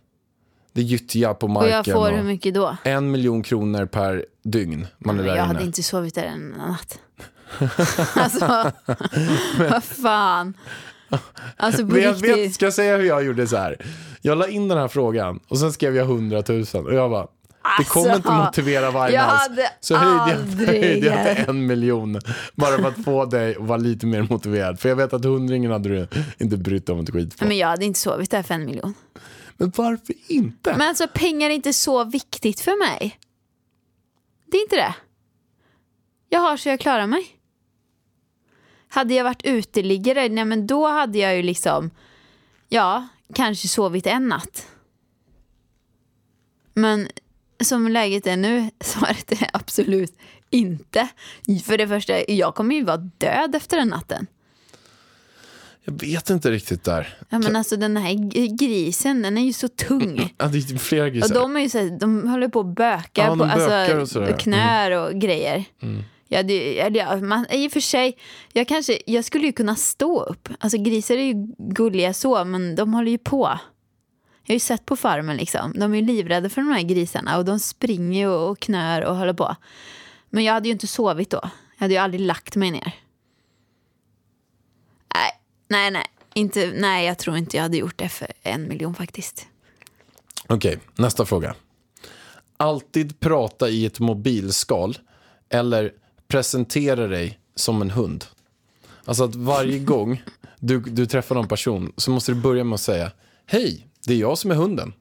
Det är gyttja på marken. Och jag får och- hur mycket då? en miljon kronor per dygn man Men är där jag inne. hade inte sovit där en (laughs) natt. alltså, vad fan. Alltså på Men jag vet, riktigt. ska jag säga hur jag gjorde så här? Jag la in den här frågan och sen skrev jag 100 000 och jag bara, det kommer Alltså, inte motivera varje jag alls. hade Så höjde jag, (laughs) aldrig- höjde jag till en miljon bara för att få dig att vara lite mer motiverad. För jag vet att hundringen hade du inte brytt dig om ett skit på. Men jag hade inte sovit där för en miljon. Men varför inte? Men alltså pengar är inte så viktigt för mig. Det är inte det. Jag har så jag klarar mig. Hade jag varit uteliggare, nej men då hade jag ju liksom, ja, kanske sovit en natt. Men som läget är nu, (laughs) svaret är absolut inte. För det första, jag kommer ju vara död efter den natten. Jag vet inte riktigt där. Ja, men alltså den här g- grisen, den är ju så tung. Ja, det är flera Och grisar. de, är ju så här, de håller på och bökar Ja, de på bökar alltså, och sådär. Mm. knör och grejer. Ja, det, eller ja, man, I och för sig, jag, kanske, jag skulle ju kunna stå upp. Alltså grisar är ju gulliga så, men de håller ju på. Jag har ju sett på farmen liksom. De är ju livrädda för de här grisarna och de springer ju och knör och håller på. Men jag hade ju inte sovit då. Jag hade ju aldrig lagt mig ner. Nej, nej, nej. Inte, nej, jag tror inte jag hade gjort det för en miljon faktiskt. Okej, nästa fråga. Alltid prata i ett mobilskal eller presentera dig som en hund. Alltså (laughs) att varje gång du, du träffar någon person så måste du börja med att säga Hej, det är jag som är hunden.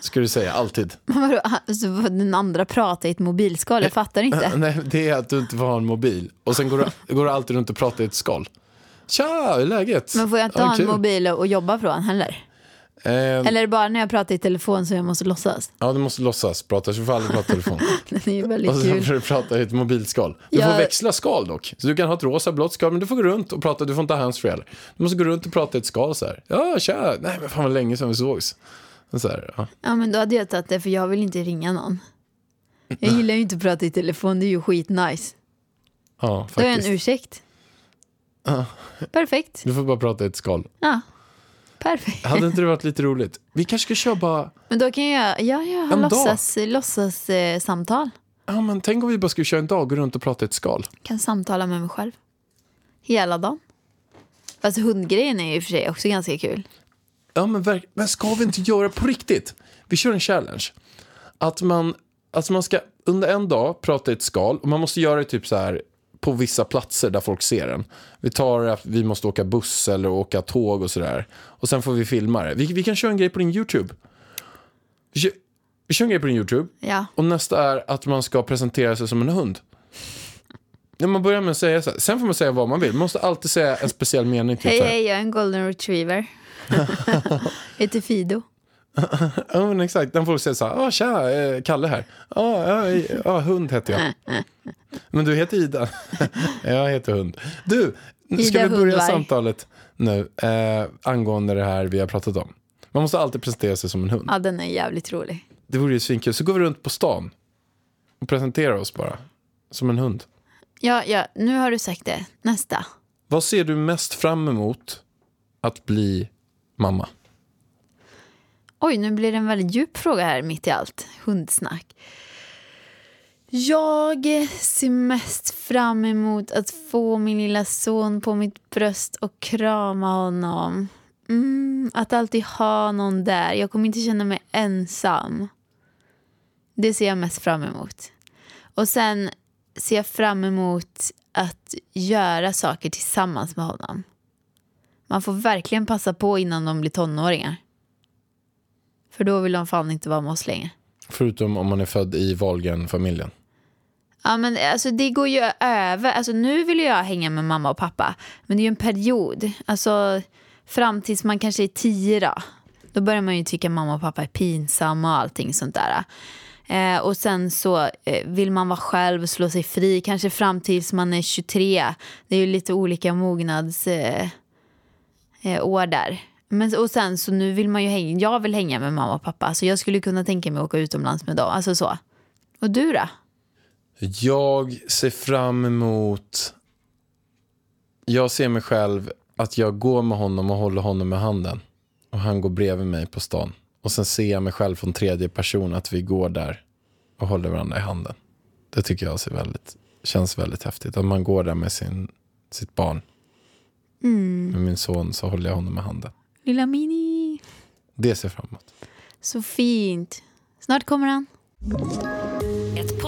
Ska du (laughs) säga alltid. Men vadå, alltså, vad den andra pratar i ett mobilskal? Jag fattar inte. (laughs) Nej, det är att du inte får ha en mobil. Och sen går du, går du alltid runt och pratar i ett skal. Tja, hur är läget? Men får jag inte Ja, ha en kul. mobil och och jobba från heller? Ehm, Eller är det bara när jag pratar i telefon så jag måste låtsas? (laughs) Ja, du måste låtsas prata, så du får aldrig prata i telefon. Den är ju Och väldigt sen kul. får du prata i ett mobilskal. Du Jag- får växla skal dock. Så du kan ha ett rosa, blått skal, men du får gå runt och prata. Du får inte ha handsfree heller. Du måste gå runt och prata i ett skal så här. Ja, tja. Nej, men fan vad länge sedan vi sågs. Så här, ja. Ja men då hade jag tagit det för jag vill inte ringa någon. Jag gillar ju inte att prata i telefon, det är ju skitnice. ja, Då är jag en faktiskt. ursäkt. Perfekt. Du får bara prata i ett skal. Ja. Perfekt. Hade inte det varit lite roligt? Vi kanske ska köra bara... Men då kan jag, ja, jag har En dag. låtsas, låtsas eh, samtal. Ja, men tänk om vi bara skulle köra en dag och gå runt och prata i ett skal. Kan samtala med mig själv. Hela dagen. Fast hundgrejen är ju i och för sig också ganska kul. Ja, men, verk- men ska vi inte göra på riktigt? Vi kör en challenge. Att man, alltså man ska under en dag prata i ett skal och man måste göra det typ så här på vissa platser där folk ser den. Vi tar att vi måste åka buss eller åka tåg och sådär. Och sen får vi filma det. Vi, vi kan köra en grej på din YouTube. Vi kör, vi kör en grej på din YouTube. Ja. Och nästa är att man ska presentera sig som en hund. (laughs) När man börjar med att säga så här. Sen får man säga vad man vill. Man måste alltid säga en speciell mening. Typ Hej, så här. hej, jag är en golden retriever. (laughs) Heter Fido. Ja, men exakt. Den får säga så här, ah, tja, eh, Kalle här. Ja, ja, ja, hund heter jag. (laughs) Men du heter Ida. (laughs) jag heter hund. Du, nu ska Ida vi börja Hundvarg. samtalet nu eh, angående det här vi har pratat om? Man måste alltid presentera sig som en hund. Ja, den är jävligt rolig. Det vore ju svinkul. Så går vi runt på stan och presenterar oss bara som en hund. Ja, ja, nu har du sagt det. Nästa. Vad ser du mest fram emot att bli mamma? Oj, nu blir det en väldigt djup fråga här mitt i allt. Hundsnack. Jag ser mest fram emot att få min lilla son på mitt bröst och krama honom. Mm, att alltid ha någon där. Jag kommer inte känna mig ensam. Det ser jag mest fram emot. Och sen ser jag fram emot att göra saker tillsammans med honom. Man får verkligen passa på innan de blir tonåringar. För då vill de fan inte vara med oss längre. Förutom om man är född i Wahlgren-familjen. Ja, men alltså, det går ju över. Alltså, nu vill ju jag hänga med mamma och pappa, men det är ju en period. Alltså, fram tills man kanske är tio då. Då börjar man ju tycka mamma och pappa är pinsamma och allting sånt där. Eh, och sen så eh, vill man vara själv och slå sig fri, kanske fram tills man är 23. Det är ju lite olika mognads... Eh, eh, år där. Men, och sen så nu vill man ju hänga, jag vill hänga med mamma och pappa så jag skulle kunna tänka mig att åka utomlands med dem. Alltså så. Och du då? Jag ser fram emot... Jag ser mig själv att jag går med honom och håller honom med handen. Och han går bredvid mig på stan. Och sen ser jag mig själv från tredje person att vi går där och håller varandra i handen. Det tycker jag ser väldigt, känns väldigt häftigt. Att man går där med sin, sitt barn. Med min son så håller jag honom med handen. Lilla Mini. Det ser jag fram emot. Så fint. Snart kommer han. Ett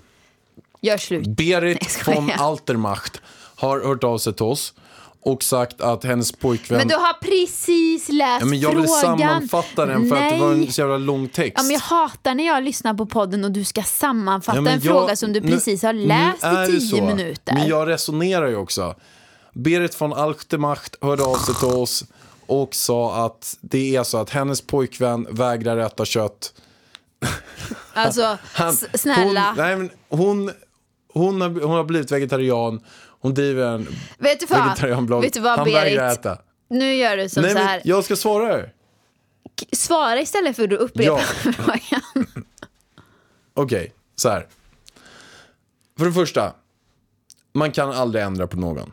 Gör slut. jag Berit skojar. von Altermacht har hört av sig till oss och sagt att hennes pojkvän... Men du har precis läst ja, men jag frågan. vill sammanfatta den för Nej. att det var en så jävla lång text. Ja, men jag hatar när jag lyssnar på podden och du ska sammanfatta Ja, men en jag- fråga som du nu- precis har nu läst är det i så. tio minuter. Men jag resonerar ju också. Berit von Altermacht hörde av sig till oss och sa att det är så att hennes pojkvän vägrar äta kött. Alltså, Han- s- snälla. Hon, nej, men hon, hon, har, hon har blivit vegetarian. Hon driver en vet du vad, vegetarianblogg. vet du vad Han vägrar Berit? äta. Nu gör du som Nej, så men här. jag ska svara här. Svara istället för att du upprepar (laughs) Ja. frågan. Okej, så här. För det första, man kan aldrig ändra på någon.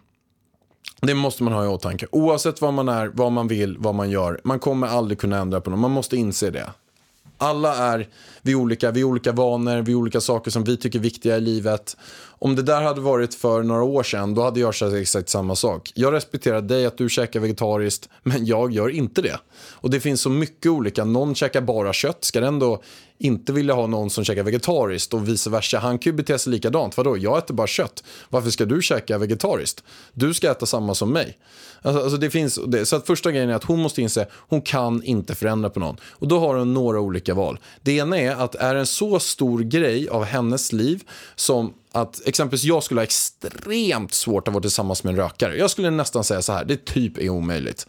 Det måste man ha i åtanke. Oavsett vad man är, vad man vill, vad man gör. Man kommer aldrig kunna ändra på någon. Man måste inse det. Alla är vi är olika, vi är olika vanor, vi är olika saker som vi tycker är viktiga i livet. Om det där hade varit för några år sedan, då hade jag käkat exakt samma sak. Jag respekterar dig att du käkar vegetariskt, men jag gör inte det. Och det finns så mycket olika. Någon käkar bara kött, ska den då inte vilja ha någon som käkar vegetariskt och vice versa. Han kan ju bete sig likadant. Vadå, jag äter bara kött. Varför ska du käka vegetariskt? Du ska äta samma som mig. Alltså, alltså det finns, det, så att första grejen är att hon måste inse hon kan inte förändra på någon. Och då har hon några olika val. Det ena är att är en så stor grej av hennes liv som att exempelvis jag skulle ha extremt svårt att vara tillsammans med en rökare. Jag skulle nästan säga så här, det typ är omöjligt.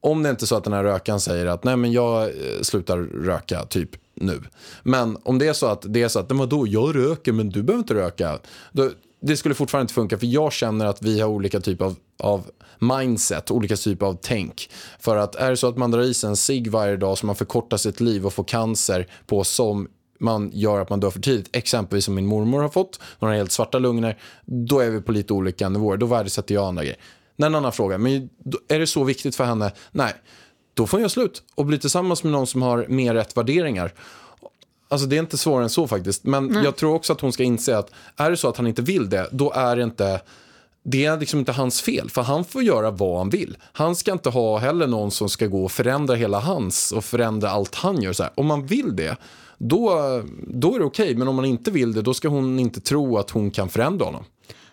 Om det inte är så att den här rökaren säger att nej men jag eh, slutar röka typ nu. Men om det är så att det är så att men då jag röker men du behöver inte röka. Då, det skulle fortfarande inte funka för jag känner att vi har olika typer av, av mindset, olika typer av tänk. För att är det så att man drar i sig en cigg varje dag så man förkortar sitt liv och får cancer på som man gör att man dör för tidigt, exempelvis som min mormor har fått, hon har helt svarta lungor, då är vi på lite olika nivåer, då värdesätter jag andra grejer. Det är en annan fråga, men då- är det så viktigt för henne? Nej, då får jag slut och bli tillsammans med någon som har mer rätt värderingar. Alltså det är inte svårare än så faktiskt, men jag tror också att hon ska inse att är det så att han inte vill det, då är det inte det är liksom inte hans fel, för han får göra vad han vill. Han ska inte ha heller någon som ska gå och förändra hela hans och förändra allt han gör. Så här. Om man vill det, då, då är det okej. Men om man inte vill det, då ska hon inte tro att hon kan förändra honom.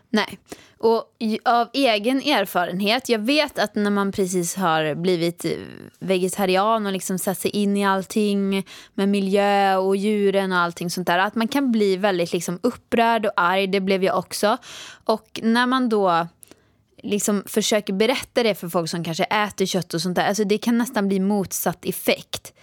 Nej. Och ju- av egen erfarenhet, jag vet att när man precis har blivit eh, vegetarian och liksom satt sig in i allting med miljö och djuren och allting sånt där, att man kan bli väldigt liksom upprörd och arg, det blev jag också. Och när man då liksom försöker berätta det för folk som kanske äter kött och sånt där, alltså det kan nästan bli motsatt effekt.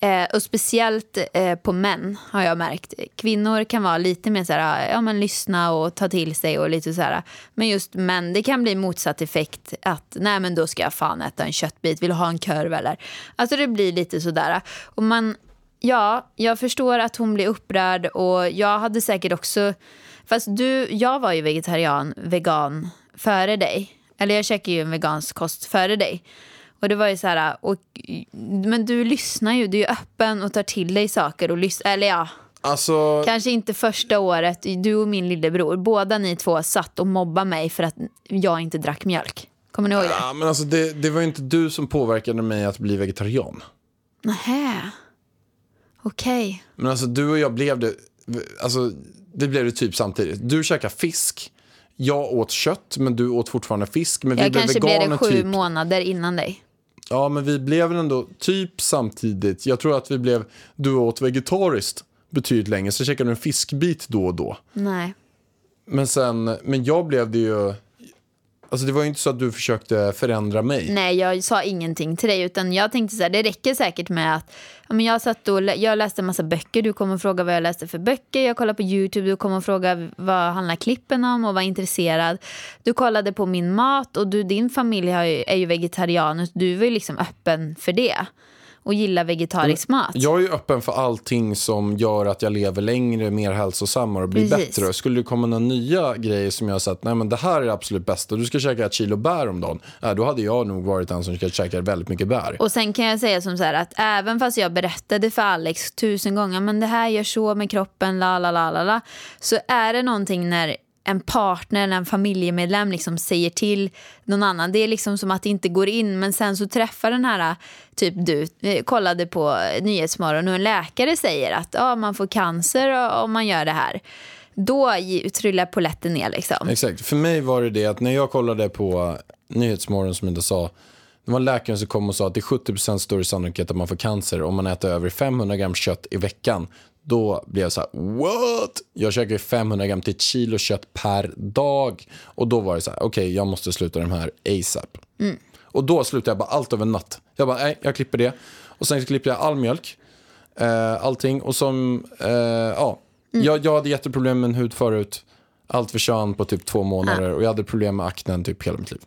Eh, och speciellt eh, på män har jag märkt. Kvinnor kan vara lite mer så här, ja men lyssna och ta till sig och lite så här. Men just män, det kan bli motsatt effekt att nej men då ska jag fan äta en köttbit, vill du ha en korv eller? Alltså det blir lite sådär. Och man, ja, jag förstår att hon blir upprörd och jag hade säkert också, fast du, jag var ju vegetarian, vegan före dig. Eller jag käkade ju en vegansk kost före dig. Och det var ju så här, och, men du lyssnar ju, du är öppen och tar till dig saker och lyssnar, eller ja, Alltså, kanske inte första året, du och min lillebror, båda ni två satt och mobbade mig för att jag inte drack mjölk. Kommer ni ihåg det? ja, men alltså det, det var ju inte du som påverkade mig att bli vegetarian. Nähä. Okej. Men alltså du och jag blev det, alltså det blev det typ samtidigt. Du käkade fisk, jag åt kött, men du åt fortfarande fisk. Men vi Jag blev kanske blev veganer det sju typ månader innan dig. Ja, men vi blev väl ändå typ samtidigt. Jag tror att vi blev, du åt vegetariskt betydligt länge, så käkade du en fiskbit då och då. Nej. Men sen, men jag blev det ju, alltså det var ju inte så att du försökte förändra mig. Nej, jag sa ingenting till dig. Utan jag tänkte så här, det räcker säkert med att ja, men jag, satt och lä- jag läste en massa böcker. Du kommer fråga vad jag läste för böcker. Jag kollade på YouTube. Du kommer fråga vad handlar klippen om och var intresserad. Du kollade på min mat och du, din familj har ju, är ju vegetarianer. så Du var ju liksom öppen för det och gillar vegetarisk mat. Jag är ju öppen för allting som gör att jag lever längre, mer hälsosammare och blir Precis. bättre. Skulle det komma några nya grejer som jag sagt, nej men det här är det absolut bästa, du ska käka ett kilo bär om dagen. Äh, då hade jag nog varit den som ska käka väldigt mycket bär. Och sen kan jag säga som så här att även fast jag berättade för Alex tusen gånger men det här gör så med kroppen, la la la la la. Så är det någonting när en partner eller en familjemedlem liksom säger till någon annan. Det är liksom som att det inte går in men sen så träffar den här typ du eh, kollade på Nyhetsmorgon och en läkare säger att ja man får cancer om man gör det här. Då gi- trillar polletten ner liksom. Exakt. För mig var det det att när jag kollade på Nyhetsmorgon som inte sa det var läkaren som kom och sa att det är 70 större sannolikhet att man får cancer om man äter över 500 gram kött i veckan. Då blev jag så här, what? Jag käkar ju 500 gram till ett kilo kött per dag. Och då var det så här, okej, jag måste sluta de här ASAP. Och då slutade jag bara allt över en natt. Jag bara, nej, jag klipper det. Och sen klipper jag all mjölk eh, allting. Och som, eh, ja, Mm. jag, jag hade jätteproblem med min hud förut. Allt försvann på typ två Ah. månader och jag hade problem med aknen typ hela mitt liv.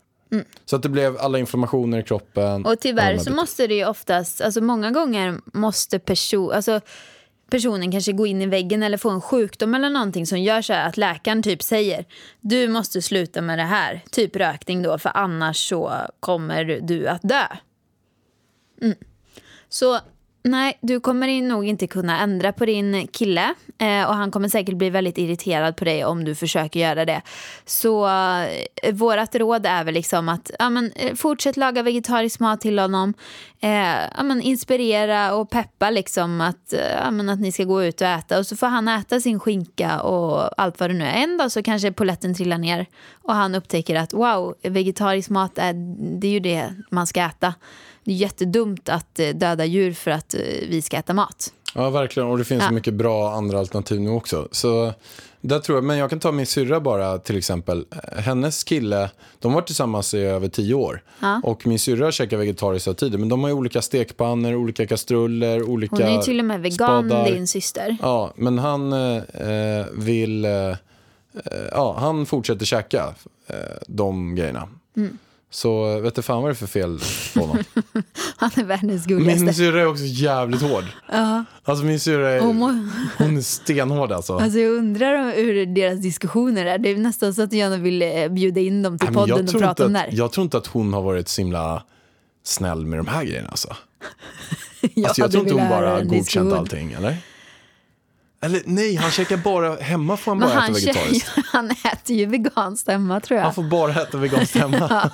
Så att det blev alla inflammationer i kroppen. Mm. Och tyvärr alla så bitar. måste det ju oftast, alltså många gånger måste person, alltså personen kanske gå in i väggen eller få en sjukdom eller någonting som gör så här att läkaren typ säger du måste sluta med det här, typ rökning då för annars så kommer du att dö. Mm. Så Nej, du kommer in- nog inte kunna ändra på din kille eh, och han kommer säkert bli väldigt irriterad på dig om du försöker göra det. Så eh, vårt råd är väl liksom att ja, men, eh, fortsätt laga vegetarisk mat till honom. Eh, ja, men, inspirera och peppa liksom att, eh, ja, men, att ni ska gå ut och äta och så får han äta sin skinka och allt vad det nu är. En dag så kanske poletten trillar ner och han upptäcker att wow, vegetarisk mat är, det är ju det man ska äta. Det är jättedumt att eh, döda djur för att eh, vi ska äta mat. Ja, verkligen. Och det finns så mycket bra andra alternativ nu också. Så där tror jag, men jag kan ta min syrra bara till exempel. Hennes kille, de har varit tillsammans i över tio år. Och min syrra käkar vegetariskt hela tiden. Men de har ju olika stekpannor, olika kastruller, olika Hon är ju till och med vegan, spadar. din syster. Ja, men han eh, vill... Eh, eh, ja, han fortsätter käka eh, de grejerna. Mm. Så eh, vet du fan vad det är för fel (laughs) på honom. (laughs) Han är världens Min gulligaste. syrra är också jävligt hård. Alltså min syrra är, Hon må- hon är stenhård alltså. Alltså jag undrar om- hur deras diskussioner är. Det är nästan så att jag gärna vill eh, bjuda in dem till Nej, men podden och tror prata om det inte här. (laughs) att, jag tror inte att hon har varit så himla snäll med de här grejerna alltså. Alltså, jag hade tror inte velat hon höra bara en godkänt diskussion. allting, eller? Eller nej, han käkar bara, hemma får han Men bara äta han, vegetariskt. (laughs) han äter ju veganskt hemma tror jag. Han får bara äta veganskt hemma.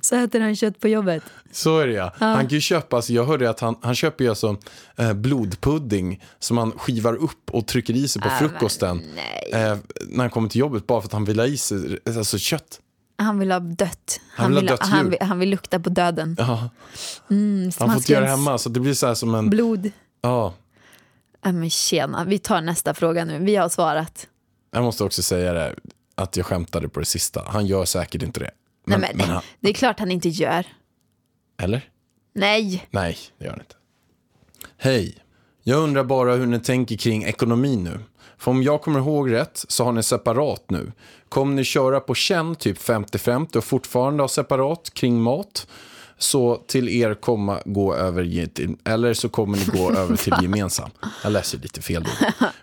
Så äter han kött på jobbet. Så är det ja. Han kan ju köpa, alltså, jag hörde att han, han köper ju alltså eh, blodpudding som han skivar upp och trycker i sig på frukosten. Eh, när han kommer till jobbet bara för att han vill ha i sig alltså, kött. Han vill ha dött. Han vill ha dött djur. han, vill, han vill lukta på döden. Ja, Mm, han får inte göra det smaskens hemma så det blir så här som en, Blod. ja. Ja, men tjena, vi tar nästa fråga nu. Vi har svarat. Jag måste också säga det, att jag skämtade på det sista. Han gör säkert inte det. Men, Men, Nej, men, men han, det är klart han inte gör. eller? Nej, Nej, det gör han inte. Hej. Jag undrar bara hur ni tänker kring ekonomin nu. För om jag kommer ihåg rätt så har ni separat nu. Kommer ni köra på känn typ 50-50 och fortfarande ha separat kring mat? Så till er komma gå över ge- till- eller så kommer ni gå över till gemensam. Jag läser lite fel då.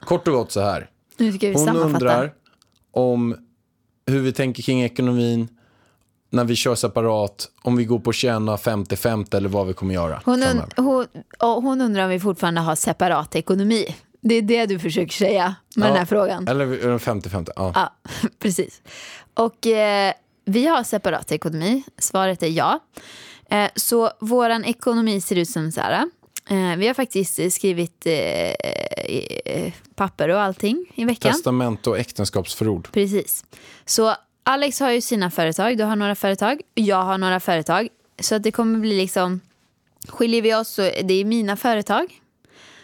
Kort och gott så här. nu ska vi Hon sammanfatta. undrar om hur vi tänker kring ekonomin när vi kör separat, om vi går på tjäna 50-50 eller vad vi kommer göra. hon, framöver. und hon, ja, hon undrar om vi fortfarande har separat ekonomi. Det är det du försöker säga med den här Ja, frågan. Eller vi- eller 50-50, ja. Ja, (laughs) precis. Och eh, vi har separat ekonomi. Svaret är ja. Eh, så vår ekonomi ser ut som så här. Eh, vi har faktiskt eh, skrivit eh, eh, papper och allting i veckan. Testament och äktenskapsförord. Precis. Så Alex har ju sina företag, du har några företag, jag har några företag. Så att det kommer bli liksom, skiljer vi oss så är det är mina företag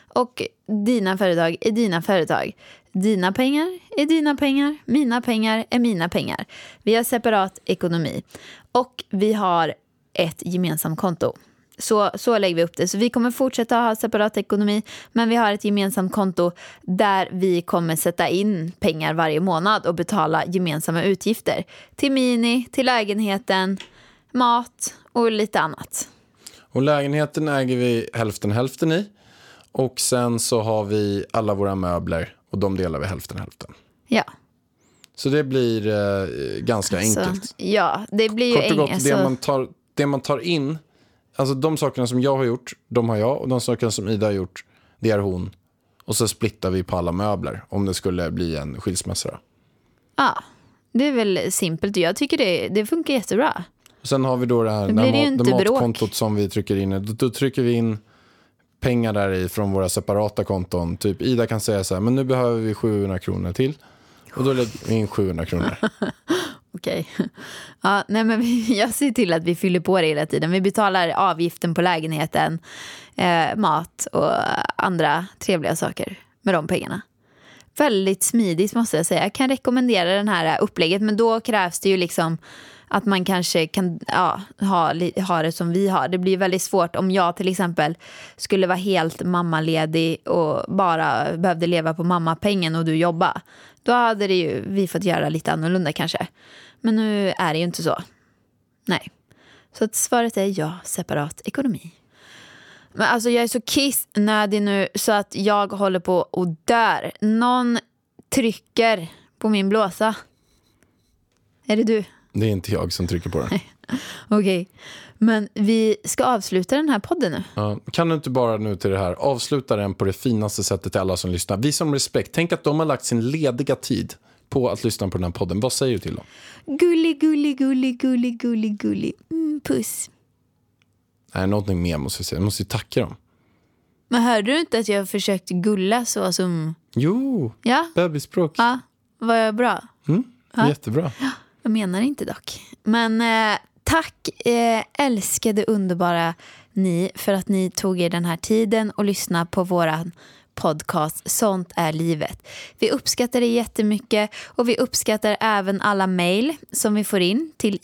och dina företag är dina företag. Dina pengar är dina pengar, mina pengar är mina pengar. Vi har separat ekonomi och vi har ett gemensamt konto. Så, så lägger vi upp det. Så vi kommer fortsätta ha separat ekonomi men vi har ett gemensamt konto där vi kommer sätta in pengar varje månad och betala gemensamma utgifter. Till Mini, till lägenheten, mat och lite annat. Och lägenheten äger vi hälften hälften i. Och sen så har vi alla våra möbler och de delar vi hälften hälften. Ja. Så det blir eh, ganska enkelt. Så, ja, det blir ju Kort och eng- gott, det alltså- man, tar, det man tar in, alltså de sakerna som jag har gjort, de har jag och de sakerna som Ida har gjort, det är hon. Och så splittar vi på alla möbler om det skulle bli en skilsmässa. då. Ja, det är väl simpelt. Jag tycker det, det funkar jättebra. Och sen har vi då det här Då blir det ju det inte bråk. matkontot som vi trycker in. i. Då, då trycker vi in pengar där i från våra separata konton. Typ Ida kan säga så här, men nu behöver vi 700 kronor till. Och då lägger vi in (laughs) 700 kronor. Okej. (laughs) Ja, nej men vi, (laughs) jag ser till att vi fyller på det hela tiden. Vi betalar avgiften på lägenheten, eh, mat och andra trevliga saker med de pengarna. Väldigt smidigt måste jag säga. Jag kan rekommendera den här upplägget men då krävs det ju liksom att man kanske kan ja, ha, li- ha det som vi har. Det blir väldigt svårt om jag till exempel skulle vara helt mammaledig och bara behövde leva på mammapengen och du jobba. Då hade det ju, vi fått göra lite annorlunda kanske. Men nu är det ju inte så. Nej. Så att svaret är ja, separat ekonomi. Men alltså jag är så kissnödig nu så att jag håller på och dör. Någon trycker på min blåsa. Är det du? Det är inte jag som trycker på den. Okej, men vi ska avsluta den här podden nu. Ja, kan du inte bara nu till det här avsluta den på det finaste sättet till alla som lyssnar? Visa som respekt. Tänk att de har lagt sin lediga tid på att lyssna på den här podden. Vad säger du till dem? Gullig, gullig, gullig, gullig, gullig, gullig. Mm, puss. Nej, någonting mer måste jag säga. Jag måste ju tacka dem. Men hörde du inte att jag försökte gulla så som... Jo, Ja, bebisspråk. ja var jag bra? Jättebra. Jag menar inte dock. Men eh, tack eh, älskade underbara ni för att ni tog er den här tiden och lyssnade på våran podcast Sånt är livet. Vi uppskattar det jättemycket och vi uppskattar även alla mejl som vi får in till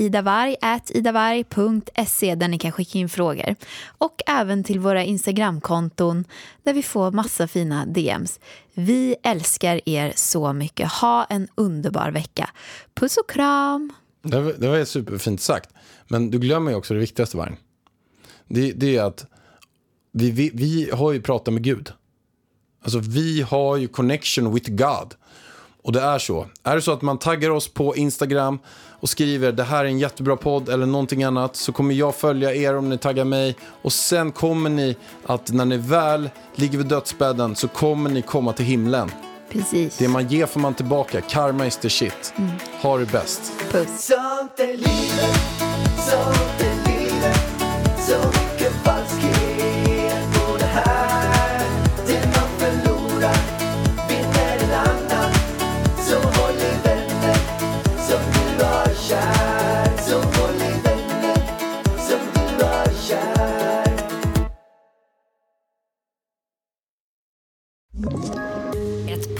idavarg.idavarg.se där ni kan skicka in frågor. Och även till våra Instagramkonton där vi får massa fina DMs. Vi älskar er så mycket. Ha en underbar vecka. Puss och kram! Det var, det var ju superfint sagt. Men du glömmer ju också det viktigaste, Varn. Det, det är att vi, vi, vi har ju pratat med Gud. Alltså vi har ju connection with God. Och det är så. Är det så att man taggar oss på Instagram och skriver det här är en jättebra podd eller någonting annat så kommer jag följa er om ni taggar mig. Och sen kommer ni att när ni väl ligger vid dödsbädden så kommer ni komma till himlen. Precis. Det man ger får man tillbaka. Karma is the shit. Ha det bäst. Puss. Sånt är livet, sånt är livet Så mycket falskhet på det här Det man förlorar vinner en annan Så håll i vänner som du har kär Så håll i vänner som du har kär Ett